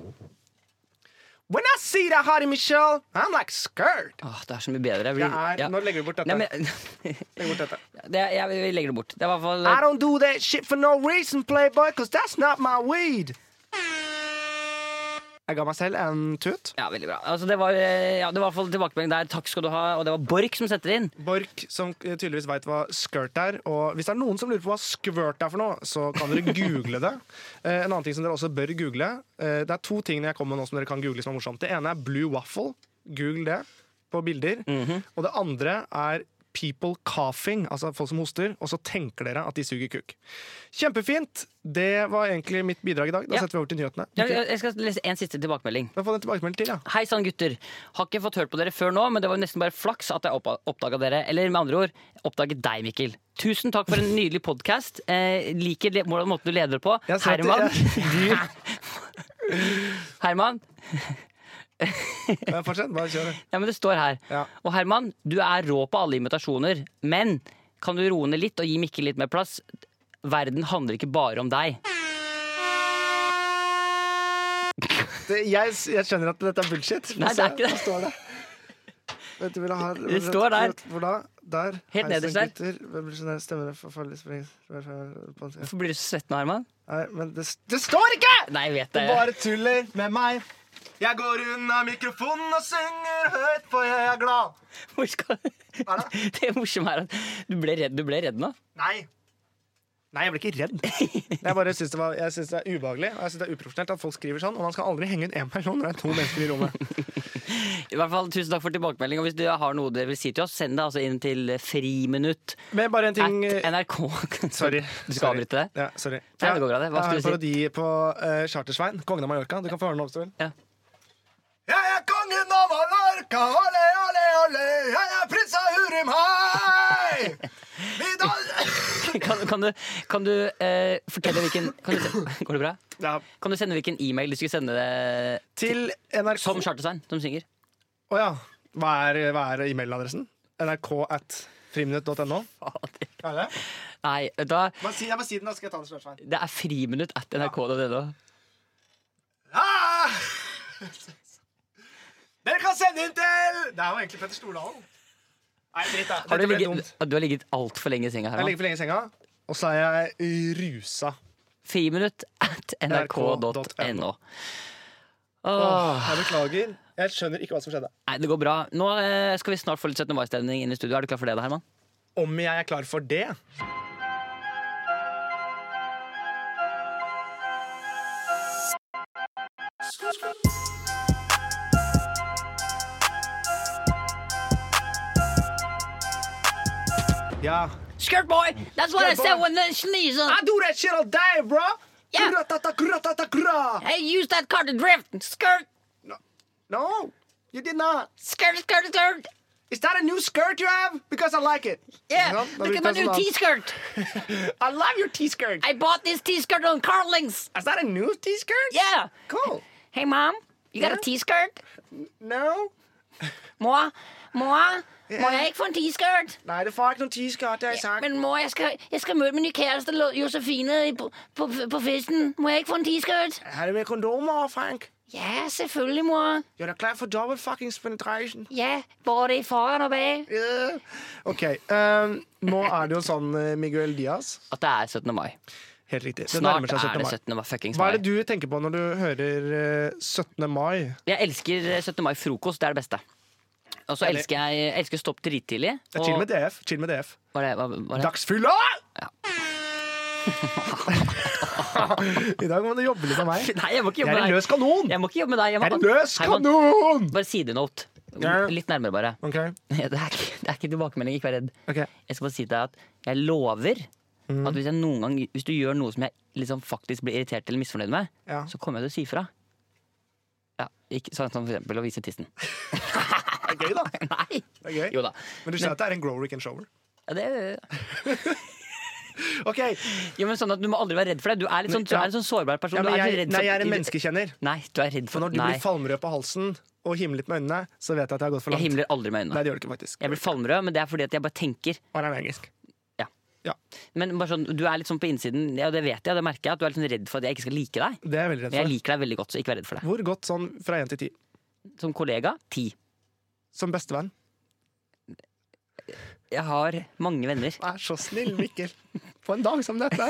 [SPEAKER 2] When I see that hottie Michelle, I'm like scared.
[SPEAKER 1] Åh, det er så mye bedre. Jeg blir-
[SPEAKER 2] Jeg er,
[SPEAKER 1] ja.
[SPEAKER 2] Nå legger vi bort dette.
[SPEAKER 1] Nei, men,
[SPEAKER 2] Legg bort dette.
[SPEAKER 1] <laughs> det, jeg, vi legger det bort. Det var i hvert
[SPEAKER 2] I
[SPEAKER 1] fall
[SPEAKER 2] don't do that shit for no reason, playboy, cause that's not my weed. Jeg ga meg selv en tut.
[SPEAKER 1] ja, veldig bra. Altså, det var, eh, ja, det var i hvert fall tilbakemelding der. Takk skal du ha. Og det var Borch som setter inn.
[SPEAKER 2] Borch, som eh, tydeligvis veit hva skirt er. Og hvis det er noen som lurer på hva skvørt er for noe, så kan dere google det. <laughs> Eh, En annen ting som dere også bør google eh, Det er to ting jeg kommer med nå som dere kan google som er morsomt. Det ene er blue waffle. Google det på bilder.
[SPEAKER 1] Mhm.
[SPEAKER 2] Og det andre er people coughing, altså folk som hoster, og så tenker dere at de suger kuk. Kjempefint! Det var egentlig mitt bidrag i dag. Da
[SPEAKER 1] Ja.
[SPEAKER 2] setter vi over til nyhetene.
[SPEAKER 1] Jeg, jeg jeg skal lese en siste tilbakemelding.
[SPEAKER 2] Da får jeg en tilbakemelding til, ja.
[SPEAKER 1] Hei sann, gutter. Har ikke fått hørt på dere før nå, men det var jo nesten bare flaks at jeg opp- oppdaga dere. Eller med andre ord, oppdaget deg, Mikkel. Tusen takk for en nydelig podkast. Eh, liker le hvordan måten du leder det på.
[SPEAKER 2] Jeg ser at <laughs>
[SPEAKER 1] Herman.
[SPEAKER 2] jeg-
[SPEAKER 1] <laughs> Herman.
[SPEAKER 2] Men Fortsett, bare kjør.
[SPEAKER 1] Ja, men det står her.
[SPEAKER 2] Ja.
[SPEAKER 1] Og Herman, du er rå på alle imitasjoner, men kan du roe ned litt og gi Mikkel litt mer plass? Verden handler ikke bare om deg.
[SPEAKER 2] Det, jeg, jeg skjønner at dette er bullshit.
[SPEAKER 1] Nei, det er ikke det.
[SPEAKER 2] Hva står det? Vet du, vil jeg ha,
[SPEAKER 1] Det står der.
[SPEAKER 2] Hvor da? Der.
[SPEAKER 1] Helt
[SPEAKER 2] Heisen,
[SPEAKER 1] nederst der.
[SPEAKER 2] gutter. Hvem blir sånn her? Stemmer det for farlig spring? Nei,
[SPEAKER 1] Hvorfor blir du så svett nå, Herman?
[SPEAKER 2] men det, det står ikke!
[SPEAKER 1] Nei, jeg vet
[SPEAKER 2] Du
[SPEAKER 1] det.
[SPEAKER 2] bare tuller med meg. Jeg går unna mikrofonen og synger høyt, for jeg er glad.
[SPEAKER 1] <laughs> Hvor skal...
[SPEAKER 2] Hva da?
[SPEAKER 1] <laughs> Det morsomme er at du ble redd, du ble redd nå.
[SPEAKER 2] Nei. Nei, jeg ble ikke redd. Jeg bare synes det, var, jeg synes det er ubehagelig og jeg synes det er uprofesjonelt at folk skriver sånn. Og man skal aldri henge ut én person når det er to mennesker i
[SPEAKER 1] <laughs>
[SPEAKER 2] rommet.
[SPEAKER 1] I hvert fall, Tusen takk for tilbakemelding. Og hvis du har noe dere vil si til oss, send det altså inn til friminutt
[SPEAKER 2] Men bare en
[SPEAKER 1] at
[SPEAKER 2] ting
[SPEAKER 1] nrk.
[SPEAKER 2] eh,
[SPEAKER 1] <laughs>
[SPEAKER 2] Sorry.
[SPEAKER 1] Du skal
[SPEAKER 2] Sorry.
[SPEAKER 1] avbryte det?
[SPEAKER 2] Ja, sorry.
[SPEAKER 1] Nei, det går bra, det. Hva
[SPEAKER 2] jeg har
[SPEAKER 1] skulle
[SPEAKER 2] en
[SPEAKER 1] du
[SPEAKER 2] parodi på eh, Chartersvein, kongen av Mallorca. Du kan få høre den om du vil.
[SPEAKER 1] Ja.
[SPEAKER 2] Jeg er kongen av Mallorca, ole, ole, ole. Jeg er prins av Hurum,
[SPEAKER 1] <laughs>
[SPEAKER 2] hei! Vi dans-
[SPEAKER 1] Kan, kan du, kan du eh, fortelle hvilken kan du, se- Går det bra?
[SPEAKER 2] ja.
[SPEAKER 1] Kan du sende hvilken e-mail du skulle sende det
[SPEAKER 2] Til NRK
[SPEAKER 1] som Charterstein, som synger?
[SPEAKER 2] Å ja. Hva er, hva er e-mailadressen? NRK at friminutt.no? Er det?
[SPEAKER 1] Nei, da,
[SPEAKER 2] Bare si- Jeg må si den, da skal jeg ta den Chartersvein.
[SPEAKER 1] det er friminutt at nrk.no.
[SPEAKER 2] Ah! Dere kan sende inn til Det er jo egentlig Petter Stordalen. Nei, dritt, da.
[SPEAKER 1] Har
[SPEAKER 2] Dette
[SPEAKER 1] du,
[SPEAKER 2] ble
[SPEAKER 1] ligget,
[SPEAKER 2] dumt.
[SPEAKER 1] du har ligget altfor lenge i senga.
[SPEAKER 2] Jeg
[SPEAKER 1] Herman.
[SPEAKER 2] ligger for lenge i senga, og så er jeg rusa.
[SPEAKER 1] Friminutt at nrk.no.
[SPEAKER 2] Åh,
[SPEAKER 1] Åh,
[SPEAKER 2] jeg beklager. Jeg skjønner ikke hva som skjedde.
[SPEAKER 1] Nei, det går bra. Nå eh, skal vi snart få litt 17. mai-stemning inn i studio. Er du klar for det, da, Herman?
[SPEAKER 2] Om jeg er klar for det? Ja.
[SPEAKER 1] Skirt boy! That's
[SPEAKER 2] what I Skirt boy. said when
[SPEAKER 1] they sneeze
[SPEAKER 2] I do that shit all day, bro!
[SPEAKER 1] Yeah.
[SPEAKER 2] Gratata, gratata, gra.
[SPEAKER 1] Hey, use that car to drift! Skirt!
[SPEAKER 2] No, you did not.
[SPEAKER 1] Skirt, skirt, skirt!
[SPEAKER 2] Is that a new skirt you have? Because I like it. Ja, da blir det sånn da.
[SPEAKER 1] T-skirt!
[SPEAKER 2] I love your T-skirt.
[SPEAKER 1] I bought this T-skirt on Carlings!
[SPEAKER 2] Is that a new T-skirt?
[SPEAKER 1] Yeah!
[SPEAKER 2] Cool.
[SPEAKER 1] Hey, mom, you got
[SPEAKER 2] Yeah?
[SPEAKER 1] a T-skirt?
[SPEAKER 2] No.
[SPEAKER 1] Mor, mor, må
[SPEAKER 2] Ja.
[SPEAKER 1] jeg ikke få en t-skirt?
[SPEAKER 2] Nei, det får ikke noen T-skirt, det har jeg sagt.
[SPEAKER 1] Men mor, jeg skal, jeg skal møte min nye kjæreste Lo- Josefine i- på, på, på festen. Må jeg ikke få en t-skirt?
[SPEAKER 2] Er det med kondomer, Frank?
[SPEAKER 1] Ja, selvfølgelig, mor.
[SPEAKER 2] Gjør deg klar for double fucking penetration.
[SPEAKER 1] Ja, både i foran og bag.
[SPEAKER 2] Yeah. OK. ehm, nå er det jo sånn eh, Miguel Diaz.
[SPEAKER 1] At det er 17. mai.
[SPEAKER 2] Helt riktig. Det nærmer
[SPEAKER 1] Snart
[SPEAKER 2] seg
[SPEAKER 1] er
[SPEAKER 2] 17.
[SPEAKER 1] det 17. mai.
[SPEAKER 2] mai.
[SPEAKER 1] Fuckings
[SPEAKER 2] Hva
[SPEAKER 1] mai.
[SPEAKER 2] er det du tenker på når du hører eh, 17. mai?
[SPEAKER 1] Jeg elsker eh, 17. mai-frokost. Det er det beste. Og så
[SPEAKER 2] Enig.
[SPEAKER 1] elsker jeg jeg elsker å stoppe drittidlig.
[SPEAKER 2] Det er
[SPEAKER 1] og-
[SPEAKER 2] chill med DF. Chill med DF.
[SPEAKER 1] Hva er det? Hva, hva er det?
[SPEAKER 2] Dagsfylla! <laughs> I dag må du jobbe litt med meg.
[SPEAKER 1] <laughs> Nei, jeg må ikke
[SPEAKER 2] Jeg
[SPEAKER 1] jobbe
[SPEAKER 2] er en
[SPEAKER 1] med deg.
[SPEAKER 2] løs kanon!
[SPEAKER 1] Jeg må ikke jobbe med deg. Jeg
[SPEAKER 2] Jeg er
[SPEAKER 1] må,
[SPEAKER 2] en løs
[SPEAKER 1] Herman,
[SPEAKER 2] kanon!
[SPEAKER 1] Bare sidenote.
[SPEAKER 2] Ja.
[SPEAKER 1] Litt nærmere, bare. <laughs>
[SPEAKER 2] Ok,
[SPEAKER 1] Det er ikke, det er ikke tilbakemelding. Ikke vær redd.
[SPEAKER 2] ok.
[SPEAKER 1] Jeg skal bare si til deg at jeg lover
[SPEAKER 2] Mm.
[SPEAKER 1] at hvis, jeg noen gang, hvis du gjør noe som jeg liksom faktisk blir irritert eller misfornøyd med,
[SPEAKER 2] Ja.
[SPEAKER 1] så kommer jeg til å si fra. Ja, ikke, sånn som for eksempel å vise tissen. <laughs>
[SPEAKER 2] Det er gøy, da.
[SPEAKER 1] Nei!
[SPEAKER 2] Det er gøy.
[SPEAKER 1] Jo da.
[SPEAKER 2] Men du ser at det er en grower, ikke en shower.
[SPEAKER 1] Ja, det,
[SPEAKER 2] Ok,
[SPEAKER 1] jo, men sånn at Du må aldri være redd for det. Du er, litt sånn, du
[SPEAKER 2] Ja.
[SPEAKER 1] er en sånn sårbar person.
[SPEAKER 2] ja,
[SPEAKER 1] du
[SPEAKER 2] men
[SPEAKER 1] er så
[SPEAKER 2] jeg,
[SPEAKER 1] redd
[SPEAKER 2] nei, jeg er en
[SPEAKER 1] for-
[SPEAKER 2] menneskekjenner.
[SPEAKER 1] Nei, du er redd
[SPEAKER 2] For
[SPEAKER 1] for
[SPEAKER 2] når du
[SPEAKER 1] Nei,
[SPEAKER 2] blir falmrød på halsen og himler litt med øynene, så vet jeg at jeg har gått for
[SPEAKER 1] jeg
[SPEAKER 2] langt.
[SPEAKER 1] himler aldri med
[SPEAKER 2] Nei,
[SPEAKER 1] øynene.
[SPEAKER 2] det gjør du ikke faktisk.
[SPEAKER 1] Jeg blir falmrød, men det er fordi at jeg bare tenker.
[SPEAKER 2] Og det er engelsk.
[SPEAKER 1] Men bare sånn, Du er litt sånn på innsiden, ja, det vet jeg, det merker jeg, at du er litt sånn redd for at jeg ikke skal like deg.
[SPEAKER 2] Det er jeg veldig redd
[SPEAKER 1] Men jeg
[SPEAKER 2] for.
[SPEAKER 1] liker deg veldig godt, så ikke vær redd for det.
[SPEAKER 2] Hvor godt sånn fra én til ti?
[SPEAKER 1] Som kollega ti.
[SPEAKER 2] Som bestevenn.
[SPEAKER 1] Jeg har mange venner.
[SPEAKER 2] Vær så snill, Mikkel. På en dag som <laughs> dette.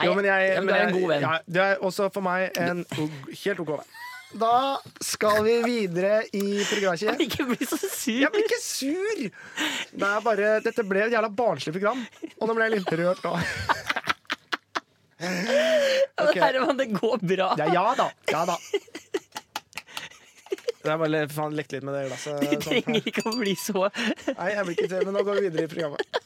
[SPEAKER 2] Jo, men jeg,
[SPEAKER 1] ja, men du er en god venn.
[SPEAKER 2] Ja, du er også for meg en helt OK venn. Da skal vi videre i programmet.
[SPEAKER 1] <laughs> Ikke bli så sur!
[SPEAKER 2] Jeg blir ikke sur! Det er bare, dette ble et jævla barnslig program, og nå ble jeg litt rørt nå. ok.
[SPEAKER 1] Herman, det går bra.
[SPEAKER 2] Ja, ja da. Ja da. Jeg bare le- faen lekte litt med <laughs> det glasset.
[SPEAKER 1] Du
[SPEAKER 2] sånn her.
[SPEAKER 1] trenger ikke å bli så Det
[SPEAKER 2] Nei, jeg blir ikke til, men nå går vi videre i programmet.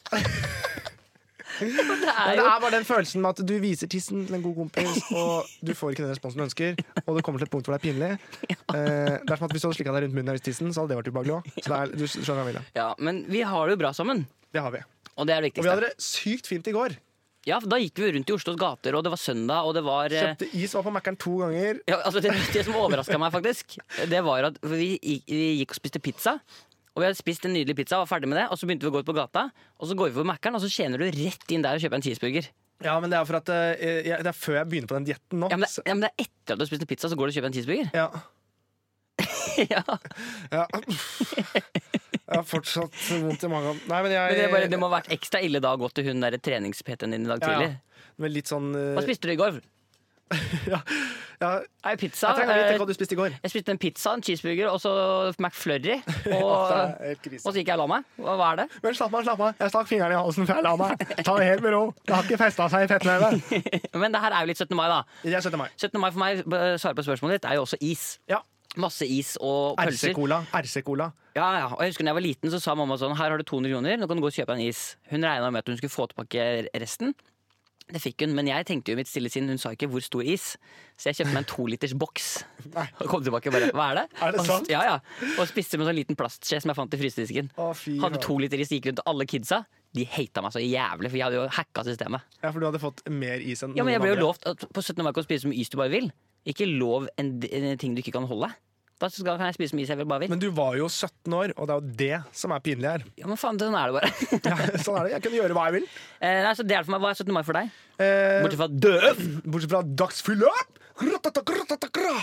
[SPEAKER 1] er
[SPEAKER 2] Det
[SPEAKER 1] jo
[SPEAKER 2] er bare den følelsen med at du viser tissen til en god kompis, og du får ikke den responsen du ønsker, og det kommer til et punkt hvor det
[SPEAKER 1] <laughs>
[SPEAKER 2] er pinlig. Eh, Det er som at Hvis du hadde slikka deg rundt munnen hvis tissen, så hadde det vært ubehagelig òg. Så det er, du skjønner hva jeg vil. da.
[SPEAKER 1] Ja, men vi har det jo bra sammen.
[SPEAKER 2] Det har vi.
[SPEAKER 1] Og det er det
[SPEAKER 2] Og vi
[SPEAKER 1] viktigste.
[SPEAKER 2] hadde det sykt fint i går.
[SPEAKER 1] Ja, for Da gikk vi rundt i Oslos gater, og det var søndag, og det var eh,
[SPEAKER 2] Kjøpte is, var på Mækkern to ganger.
[SPEAKER 1] ja, altså det, det som overraska meg, faktisk, det var at vi, gikk- vi gikk og spiste pizza. Og vi hadde spist en nydelig pizza, var ferdig med det, og så begynte vi å gå ut på gata. Og så går vi på Mækkern, og så tjener du rett inn der og kjøper en cheeseburger.
[SPEAKER 2] Ja, men det er, for at, eh, jeg, det er før jeg begynner på den dietten nå.
[SPEAKER 1] Ja, men det,
[SPEAKER 2] så-
[SPEAKER 1] ja, men det er etter at du har spist en pizza, så går du og kjøper en cheeseburger.
[SPEAKER 2] ja.
[SPEAKER 1] <laughs> ja.
[SPEAKER 2] Ja. Jeg har fortsatt vondt i magen. Nei, men jeg
[SPEAKER 1] Men det, er bare, det må ha vært ekstra ille da å gå til hun der trenings-PT-en din i dag
[SPEAKER 2] Ja, ja.
[SPEAKER 1] tidlig.
[SPEAKER 2] Men litt sånn
[SPEAKER 1] Hva
[SPEAKER 2] eh,
[SPEAKER 1] spiste du i går?
[SPEAKER 2] ja, ja.
[SPEAKER 1] Nei, pizza.
[SPEAKER 2] Jeg trenger å vite
[SPEAKER 1] eh,
[SPEAKER 2] hva du spiste i går.
[SPEAKER 1] Jeg spiste en pizza, en cheeseburger og så
[SPEAKER 2] <laughs>
[SPEAKER 1] McFlurry. Og,
[SPEAKER 2] Ja, det er helt krise.
[SPEAKER 1] og så gikk jeg og la meg. Hva hva er det?
[SPEAKER 2] Men slapp av, slapp av. Jeg stakk fingeren i halsen før jeg la meg. Ta det helt med ro. Det har ikke festa seg i fettnevet.
[SPEAKER 1] Men det her er jo litt 17. mai, da.
[SPEAKER 2] Jeg støtter meg.
[SPEAKER 1] 17. mai for meg, b- svare på spørsmålet ditt, er jo også is.
[SPEAKER 2] Ja.
[SPEAKER 1] Masse is og pølser.
[SPEAKER 2] RC-cola. RC-cola.
[SPEAKER 1] Ja, ja. Og jeg husker da jeg var liten, så sa mamma sånn Her har du 200 kroner, nå kan du gå og kjøpe en is. Hun regna med at hun skulle få tilbake resten. Det fikk hun, men jeg tenkte jo i mitt stille sinn, hun sa ikke hvor stor is. Så jeg kjøpte meg en toliters boks.
[SPEAKER 2] <laughs> Nei.
[SPEAKER 1] Og kom tilbake og bare Hva er det?
[SPEAKER 2] Er det
[SPEAKER 1] Og-
[SPEAKER 2] sant?
[SPEAKER 1] Ja, ja. Og spiste med en sånn liten plastskje som jeg fant i frysedisken.
[SPEAKER 2] Å, fy
[SPEAKER 1] Hadde
[SPEAKER 2] faen.
[SPEAKER 1] to liter is, gikk rundt og alle kidsa. De hata meg så jævlig, for jeg hadde jo hacka systemet.
[SPEAKER 2] Ja, for du hadde fått mer is enn
[SPEAKER 1] Ja, men jeg
[SPEAKER 2] noen
[SPEAKER 1] ble jo
[SPEAKER 2] andre.
[SPEAKER 1] lovt at på 17. mai kan du spise så mye is du bare vil. Ikke lov en, en ting du ikke kan holde. Da skal, kan jeg spise så mye is jeg vil bare vil.
[SPEAKER 2] Men du var jo 17 år, og det er jo det som er pinlig her.
[SPEAKER 1] Ja, men faen, sånn er det bare. <laughs>
[SPEAKER 2] Ja, <laughs> sånn er det. Jeg kunne gjøre hva jeg vil.
[SPEAKER 1] Eh, nei, så det er det for meg. Hva er 17. mai for deg?
[SPEAKER 2] Eh,
[SPEAKER 1] Bortsett fra døv.
[SPEAKER 2] Bortsett fra dagsfylløp! Ratatagra, ratatagra.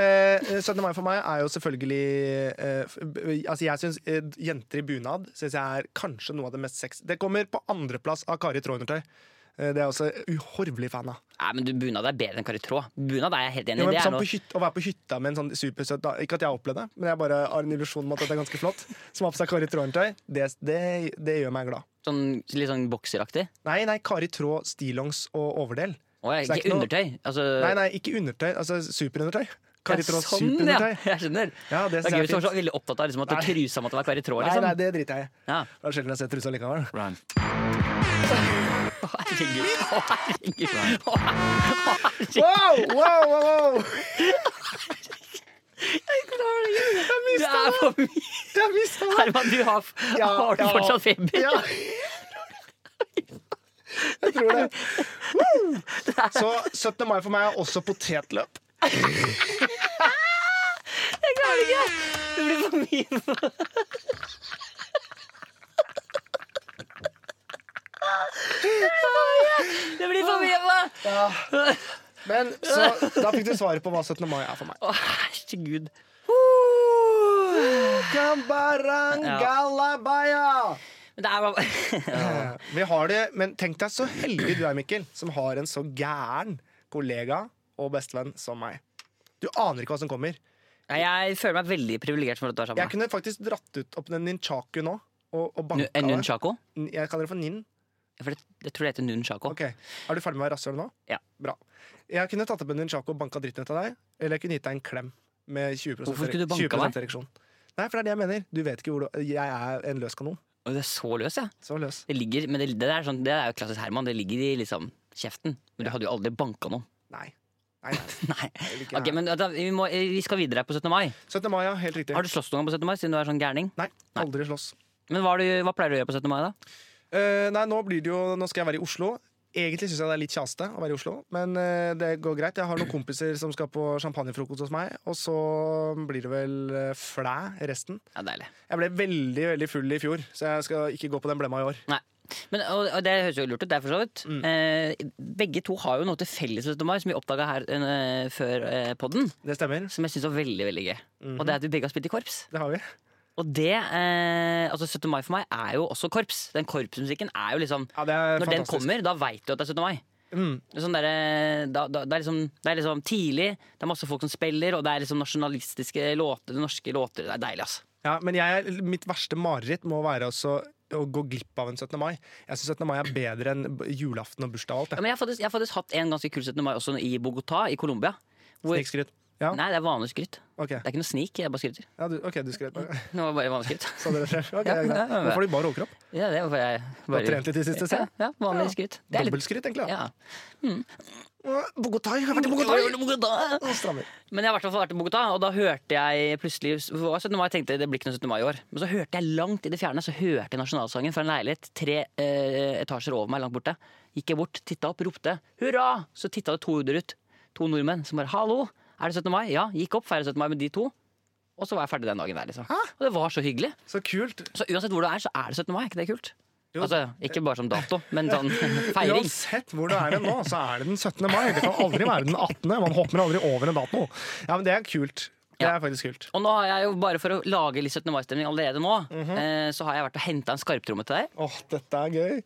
[SPEAKER 2] Eh, 17. mai for meg er jo selvfølgelig eh, f- b- Altså jeg synes, eh, Jenter i bunad synes jeg er kanskje noe av det mest sex Det kommer på andreplass av Kari Trånertøy. Eh, det er jeg også uhorvelig fan av.
[SPEAKER 1] Nei, men du, bunad er bedre enn karitråd. Bunad er jeg helt enig
[SPEAKER 2] Ja,
[SPEAKER 1] i.
[SPEAKER 2] men,
[SPEAKER 1] Det er
[SPEAKER 2] sånn,
[SPEAKER 1] noe
[SPEAKER 2] på hyt, å være på hytta med en sånn supersøt da- Ikke at jeg har opplevd det, men jeg bare har en illusjon om at det er ganske flott. Som har på seg Kari Trånertøy. Det, det, det gjør meg glad.
[SPEAKER 1] sånn, litt sånn bokseraktig.
[SPEAKER 2] Nei, nei, Kari Trå, stillongs og overdel.
[SPEAKER 1] Å, jeg,
[SPEAKER 2] Så det
[SPEAKER 1] ikke
[SPEAKER 2] er ikke noe-
[SPEAKER 1] undertøy. Altså,
[SPEAKER 2] Nei, nei, ikke undertøy. Altså superundertøy. Kari Trå,
[SPEAKER 1] sånn, ja.
[SPEAKER 2] superundertøy.
[SPEAKER 1] Jeg skjønner.
[SPEAKER 2] Ja, det
[SPEAKER 1] det er gøy
[SPEAKER 2] synes jeg er
[SPEAKER 1] hvis du var så
[SPEAKER 2] fint.
[SPEAKER 1] veldig opptatt av liksom, at
[SPEAKER 2] Nei.
[SPEAKER 1] trusa måtte være karitråd.
[SPEAKER 2] Nei,
[SPEAKER 1] Liksom.
[SPEAKER 2] nei, det driter jeg i.
[SPEAKER 1] Ja.
[SPEAKER 2] Det er sjelden jeg har sett trusa
[SPEAKER 1] <laughs>
[SPEAKER 2] likevel.
[SPEAKER 1] Å, herregud. Å, herregud. Å, herregud.
[SPEAKER 2] Wow, wow, wow, wow.
[SPEAKER 1] Jeg klarer det ikke.
[SPEAKER 2] Jeg
[SPEAKER 1] Det
[SPEAKER 2] mista
[SPEAKER 1] er
[SPEAKER 2] det!
[SPEAKER 1] for mye.
[SPEAKER 2] Jeg mista det!
[SPEAKER 1] Herman, du har,
[SPEAKER 2] Ja,
[SPEAKER 1] har du
[SPEAKER 2] ja.
[SPEAKER 1] fortsatt feber? <laughs>
[SPEAKER 2] Ja. Jeg tror det. Woo! Så 17. mai for meg er også potetløp.
[SPEAKER 1] Jeg klarer det ikke. Det blir for mye. for- Det blir for mye. for-
[SPEAKER 2] Men så, da fikk du svaret på hva 17. mai er for meg.
[SPEAKER 1] Å, herregud.
[SPEAKER 2] Kambarang galabaya!
[SPEAKER 1] Men det er bare <laughs> ja.
[SPEAKER 2] Vi har det, men tenk deg så heldig du er, Mikkel, som har en så gæren kollega og bestevenn som meg. Du aner ikke hva som kommer.
[SPEAKER 1] Nei, Jeg føler meg veldig privilegert for at du er sammen
[SPEAKER 2] Jeg
[SPEAKER 1] med meg.
[SPEAKER 2] kunne faktisk dratt ut opp den ninchaku nå og, og
[SPEAKER 1] Nu-
[SPEAKER 2] banka
[SPEAKER 1] En
[SPEAKER 2] deg.
[SPEAKER 1] nunchako?
[SPEAKER 2] N- Jeg kaller det for nin.
[SPEAKER 1] For det, jeg tror det heter nunchako.
[SPEAKER 2] Ok, Er du ferdig med å være rasshøl nå?
[SPEAKER 1] Ja.
[SPEAKER 2] Bra. Jeg kunne tatt opp en ninchaku og banka dritten ut av deg, eller jeg kunne gitt deg en klem med 20
[SPEAKER 1] Hvorfor skulle du banka
[SPEAKER 2] 20%
[SPEAKER 1] meg?
[SPEAKER 2] ereksjon. Nei, for det er det jeg mener. Du vet ikke hvor du Jeg er en løs kanon.
[SPEAKER 1] Og det er så løs, ja.
[SPEAKER 2] Så løs.
[SPEAKER 1] Det ligger, men det, det, der er sånn, det er jo klassisk Herman. Det ligger i liksom kjeften. Men du hadde jo aldri banka noen. <laughs>
[SPEAKER 2] Nei. Nei, nei.
[SPEAKER 1] Nei.
[SPEAKER 2] jeg vil
[SPEAKER 1] <laughs>
[SPEAKER 2] ikke
[SPEAKER 1] Ok,
[SPEAKER 2] det.
[SPEAKER 1] men da, vi, må, vi skal videre på 17. mai.
[SPEAKER 2] 17. mai, ja. Helt riktig.
[SPEAKER 1] Har du slåss noen gang på 17. mai, siden du er sånn gærning?
[SPEAKER 2] Nei, aldri slåss.
[SPEAKER 1] Men hva, har du, hva pleier du å gjøre på 17. mai, da?
[SPEAKER 2] Eh, nei, nå blir det jo Nå skal jeg være i Oslo. Egentlig syns jeg det er litt kjaste å være i Oslo, men eh, det går greit. Jeg har noen kompiser som skal på champagnefrokost hos meg, og så blir det vel eh, flæ resten.
[SPEAKER 1] Ja, deilig.
[SPEAKER 2] Jeg ble veldig veldig full i fjor, så jeg skal ikke gå på den blemma i år.
[SPEAKER 1] Nei, Men, og, og det høres jo lurt ut, det er for så vidt.
[SPEAKER 2] Mm.
[SPEAKER 1] Eh, begge to har jo noe til felles vet du, Mar, som vi oppdaga her eh, før eh, podden,
[SPEAKER 2] Det stemmer.
[SPEAKER 1] som jeg syns var veldig veldig gøy.
[SPEAKER 2] Mhm.
[SPEAKER 1] Og det er at vi begge har spilt i korps.
[SPEAKER 2] Det har vi.
[SPEAKER 1] Og det, eh, altså 17. mai for meg er jo også korps. Den korpsmusikken er jo liksom
[SPEAKER 2] Ja, det er
[SPEAKER 1] Når den
[SPEAKER 2] fantastisk.
[SPEAKER 1] kommer, da veit du at det er 17. mai.
[SPEAKER 2] Mm.
[SPEAKER 1] Det er Sånn derre- da, da, det, er liksom, det er liksom tidlig, det er masse folk som spiller, og det er liksom nasjonalistiske låter, norske låter. Det er deilig, altså.
[SPEAKER 2] Ja, men jeg, mitt verste mareritt må være også å gå glipp av en 17. mai. Jeg syns 17. mai er bedre enn b- julaften og bursdag og alt.
[SPEAKER 1] Ja, men jeg har, faktisk, jeg har faktisk hatt en ganske kul 17. mai også i Bogotá, i Colombia. Hvor,
[SPEAKER 2] Jeg. Snikskryt. Ja,
[SPEAKER 1] nei, det er vanlig skryt.
[SPEAKER 2] ok.
[SPEAKER 1] Det er ikke noe snik, jeg bare skryter.
[SPEAKER 2] Ja, du, ok, du skrøt.
[SPEAKER 1] <laughs> Det var bare vanlig
[SPEAKER 2] <laughs>
[SPEAKER 1] skryt.
[SPEAKER 2] Sa dere selv. Ok,
[SPEAKER 1] Ja,
[SPEAKER 2] greit.
[SPEAKER 1] ja, ja, ja.
[SPEAKER 2] Nå får du bare overkropp.
[SPEAKER 1] Ja, det var bare jeg
[SPEAKER 2] Du har
[SPEAKER 1] bare,
[SPEAKER 2] trent litt i det siste, se.
[SPEAKER 1] ja, ja, vanlig skryt. Det er litt,
[SPEAKER 2] Dobbeltskryt, egentlig. Ja.
[SPEAKER 1] ja.
[SPEAKER 2] Åh, Bogotá, jeg har vært i Bogotá!
[SPEAKER 1] Bogotá!
[SPEAKER 2] Åh, Strammer.
[SPEAKER 1] Men jeg har i hvert fall vært i Bogotá, og da hørte jeg plutselig det var 17. mai, jeg tenkte det blir ikke noe 17. mai i år. Men så hørte jeg langt i det fjerne så hørte jeg nasjonalsangen fra en leilighet tre eh, etasjer over meg, langt borte. Gikk jeg bort, titta opp, ropte 'hurra'! Så titta det to huder ut. To nordmenn som bare 'hallo, er det 17. mai?' Ja, gikk opp, feira 17. mai med de to. Og så var jeg ferdig den dagen der, liksom. Og det var så hyggelig.
[SPEAKER 2] Så kult.
[SPEAKER 1] Så uansett hvor du er, så er det 17. mai. Er ikke det kult?
[SPEAKER 2] Jo.
[SPEAKER 1] Altså, ikke bare som dato, men sånn feiring.
[SPEAKER 2] Uansett hvor du er hen nå, så er det den 17. mai. Det kan aldri være den 18. Man hopper aldri over en dato. Ja, men det er kult. Det
[SPEAKER 1] Ja.
[SPEAKER 2] er faktisk kult.
[SPEAKER 1] Og nå har jeg jo bare for å lage litt 17. mai-stemning allerede nå, eh, så har jeg vært og henta en skarptromme til deg.
[SPEAKER 2] Åh, dette er gøy.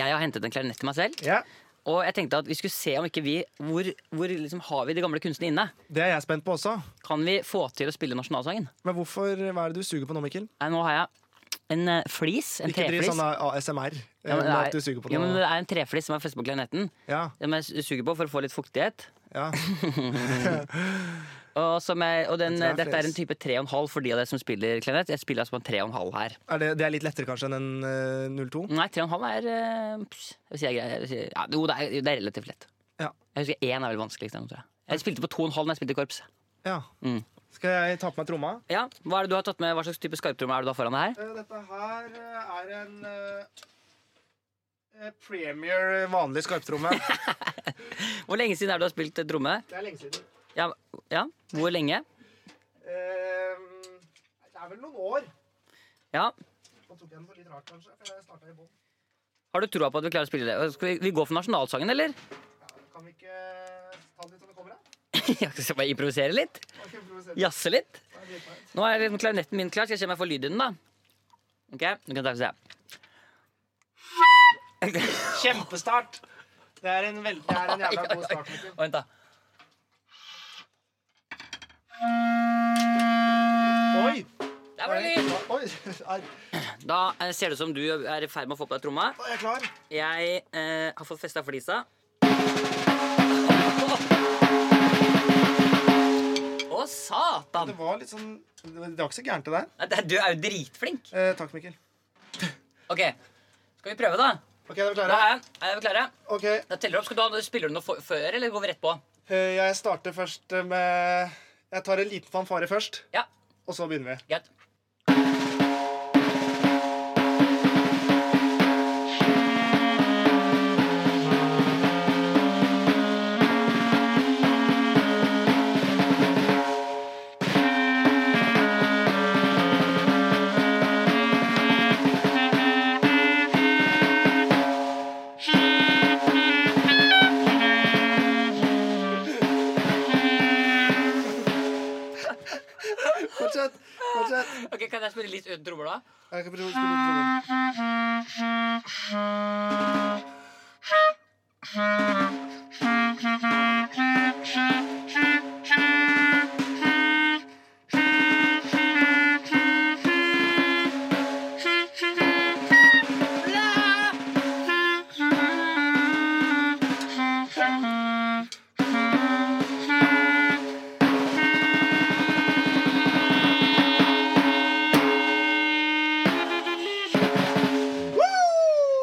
[SPEAKER 1] Jeg har hentet en klarinett til meg selv.
[SPEAKER 2] Ja,
[SPEAKER 1] Og jeg tenkte at vi skulle se om ikke vi Hvor, hvor liksom har vi de gamle kunstene inne?
[SPEAKER 2] Det er jeg spent på også.
[SPEAKER 1] Kan vi få til å spille nasjonalsangen?
[SPEAKER 2] Men hvorfor, hva er det du suger på nå, Mikkel?
[SPEAKER 1] Nei, nå har jeg en eh, flis. En
[SPEAKER 2] Ikke driv
[SPEAKER 1] treflis.
[SPEAKER 2] sånn eh, ASMR.
[SPEAKER 1] Ja, men
[SPEAKER 2] med
[SPEAKER 1] det er-
[SPEAKER 2] at du suger på
[SPEAKER 1] jo, men
[SPEAKER 2] noe.
[SPEAKER 1] det er en treflis som er festet på klarinetten.
[SPEAKER 2] Ja,
[SPEAKER 1] Som jeg s- suger på for å få litt fuktighet.
[SPEAKER 2] ja.
[SPEAKER 1] Og, som jeg, og den,
[SPEAKER 2] Jeg tror det er
[SPEAKER 1] dette er en
[SPEAKER 2] flis.
[SPEAKER 1] type 3,5 for de av dere som spiller klarinett. Jeg spiller altså på en 3,5 her.
[SPEAKER 2] Er det, det er litt lettere kanskje enn en eh, 02?
[SPEAKER 1] Nei, 3,5 er eh, pss, jeg vil si jeg greier- jeg vil si- ja, Jo, det er, det er relativt lett.
[SPEAKER 2] Ja.
[SPEAKER 1] Jeg husker én er vel vanskeligst. av dem, tror Jeg Jeg spilte på 2,5 da jeg spilte i korps.
[SPEAKER 2] Ja.
[SPEAKER 1] Mm.
[SPEAKER 2] Skal jeg ta på meg tromma?
[SPEAKER 1] Ja, Hva er det du har tatt med? Hva slags type skarptromme er det du har foran deg her?
[SPEAKER 2] Eh, Dette her eh, er en eh, eh, premier eh, vanlig skarptromme.
[SPEAKER 1] Hvor lenge siden er det du har spilt eh, tromme?
[SPEAKER 2] Det er lenge siden.
[SPEAKER 1] Ja, ja, hvor lenge?
[SPEAKER 2] Eh, det er vel noen år.
[SPEAKER 1] Ja.
[SPEAKER 2] Nå tok jeg den for litt rart, kanskje. for Jeg startet i bånn.
[SPEAKER 1] Har du troa på at vi klarer å spille det? Skal vi, vi gå for nasjonalsangen, eller? <laughs>
[SPEAKER 2] Ja, Kan vi ikke eh, ta den litt som det kommer? da?
[SPEAKER 1] Jeg skal bare improvisere litt.
[SPEAKER 2] Ok, improviser.
[SPEAKER 1] Jazze litt.
[SPEAKER 2] Det er dritfett.
[SPEAKER 1] Nå er liksom klarinetten min klar. Skal jeg se om jeg får lyd i den, da? Ok, du kan ta og se.
[SPEAKER 2] Kjempestart! Det er en, vel- det er en jævla god start. Mikkel.
[SPEAKER 1] Og <laughs> vent, da.
[SPEAKER 2] Oi!
[SPEAKER 1] Der var det lyd!
[SPEAKER 2] Oi, er,
[SPEAKER 1] Da eh, ser det ut som du er i ferd med å få på deg tromma.
[SPEAKER 2] er jeg klar?
[SPEAKER 1] Jeg eh, har fått festa flisa. Å, satan!
[SPEAKER 2] Det var litt sånn Det var ikke så gærent, det der.
[SPEAKER 1] Nei, det er- Du er jo dritflink.
[SPEAKER 2] Eh, takk, Mikkel.
[SPEAKER 1] Ok, skal vi prøve, da?
[SPEAKER 2] Ok, er vi
[SPEAKER 1] Da
[SPEAKER 2] klare?
[SPEAKER 1] er, jeg- er vi klare.
[SPEAKER 2] Ok,
[SPEAKER 1] Da teller du opp. Skal du ha, spiller du noe for, før, eller går vi rett på?
[SPEAKER 2] eh, Jeg starter først eh, med Jeg tar en liten fanfare først,
[SPEAKER 1] Ja,
[SPEAKER 2] og så begynner vi.
[SPEAKER 1] greit.
[SPEAKER 2] Fortsett. fortsett.
[SPEAKER 1] Ok, Kan jeg spille litt uten trommer, da?
[SPEAKER 2] Jeg kan prøve å spille litt trommer.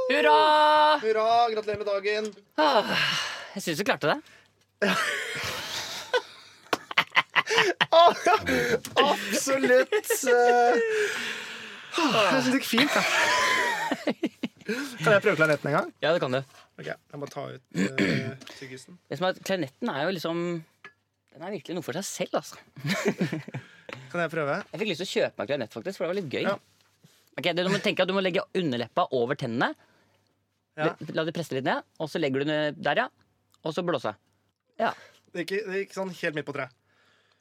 [SPEAKER 1] Hurra!
[SPEAKER 2] Hurra, gratulerer med dagen.
[SPEAKER 1] Jeg syns du klarte det.
[SPEAKER 2] Absolutt. eh, Jeg syns det gikk fint. Da. Ah. Kan jeg prøve klarinetten en gang?
[SPEAKER 1] Ja, det kan du.
[SPEAKER 2] Ok, Jeg må ta ut eh, tyggisen.
[SPEAKER 1] Det som er, at Klarinetten er jo liksom Den er virkelig noe for seg selv, altså.
[SPEAKER 2] Kan jeg prøve?
[SPEAKER 1] Jeg fikk lyst til å kjøpe meg klarinett, faktisk, for det var litt gøy.
[SPEAKER 2] Ja.
[SPEAKER 1] Ok, du må tenke at du må legge underleppa over tennene,
[SPEAKER 2] Ja.
[SPEAKER 1] La det presse litt ned, og så legger du den eh, der, ja. Og så blåse.
[SPEAKER 2] Det gikk, det gikk sånn helt midt på treet.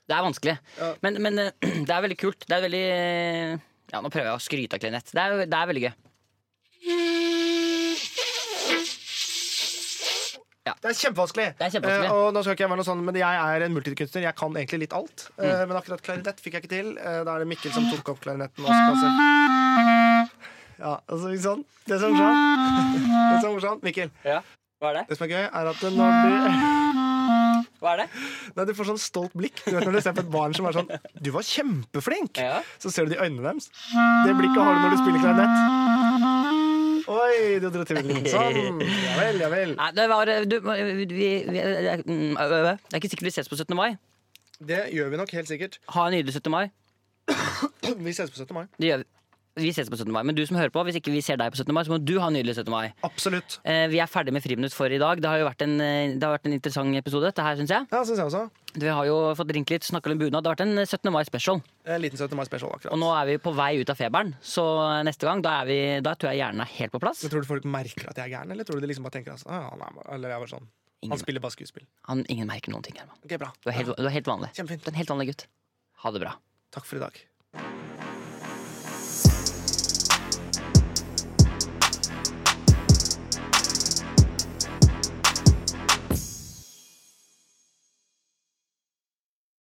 [SPEAKER 1] Det er vanskelig.
[SPEAKER 2] Ja.
[SPEAKER 1] Men, men eh, <clears throat> det er veldig kult. Det er veldig eh, Ja, nå prøver jeg å skryte av klarinett. Det er, det er veldig gøy.
[SPEAKER 2] Det er kjempevanskelig.
[SPEAKER 1] Det er kjempevanskelig.
[SPEAKER 2] Eh, og nå skal ikke jeg være noe sånn, men jeg er en multikunstner. Jeg kan egentlig litt alt. Eh,
[SPEAKER 1] Mm.
[SPEAKER 2] men akkurat klarinett fikk jeg ikke til. Eh, da er det Mikkel som tok opp klarinetten. Og skal se. Ja, altså ikke sånn. Det som er morsomt. Det som er morsomt, Mikkel.
[SPEAKER 1] Hva er det?
[SPEAKER 2] Det som er gøy, er at når du, <laughs>
[SPEAKER 1] Hva er det?
[SPEAKER 2] nei, du får sånn stolt blikk. Du vet når du ser på et barn som er sånn Du var kjempeflink!
[SPEAKER 1] Ja.
[SPEAKER 2] Så ser du det i øynene deres. Det blikket har du når du spiller klarinett. Oi, du dro til med den.
[SPEAKER 1] <laughs>
[SPEAKER 2] Sånn. Ja vel, ja vel.
[SPEAKER 1] Nei, det var eh, du, vi, vi, jeg, mm, ø, ø, ø. Det er ikke sikkert vi ses på 17. mai.
[SPEAKER 2] Det gjør vi nok helt sikkert.
[SPEAKER 1] Ha en nydelig 17. mai.
[SPEAKER 2] Vi ses på 17. mai.
[SPEAKER 1] Det gjør vi. Vi ses på 17. mai, Men du som hører på, hvis ikke vi ser deg på 17. mai, så må du ha en nydelig 17. mai.
[SPEAKER 2] Absolutt.
[SPEAKER 1] Eh, Vi er ferdig med Friminutt for i dag. Det har jo vært en, eh, det har vært en interessant episode. dette her, synes jeg.
[SPEAKER 2] Ja, syns jeg også.
[SPEAKER 1] Vi har jo fått ringt litt, snakka litt om bunad. Det har vært en 17. mai special.
[SPEAKER 2] En Eh, liten 17. mai special akkurat.
[SPEAKER 1] Og nå er vi på vei ut av feberen, så eh, neste gang da, er vi, da tror jeg hjernen er helt på plass.
[SPEAKER 2] Men tror du folk merker at jeg er gæren, eller tror du de liksom bare tenker altså, ah, han er, eller jeg er bare sånn Han
[SPEAKER 1] Ingen,
[SPEAKER 2] spiller bare skuespill.
[SPEAKER 1] han, ingen merker noen ting, Herman.
[SPEAKER 2] Ok, bra.
[SPEAKER 1] Du er helt, du er helt vanlig. Du
[SPEAKER 2] Kjempefint.
[SPEAKER 1] er en helt vanlig gutt. Ha det bra.
[SPEAKER 2] Takk for i dag.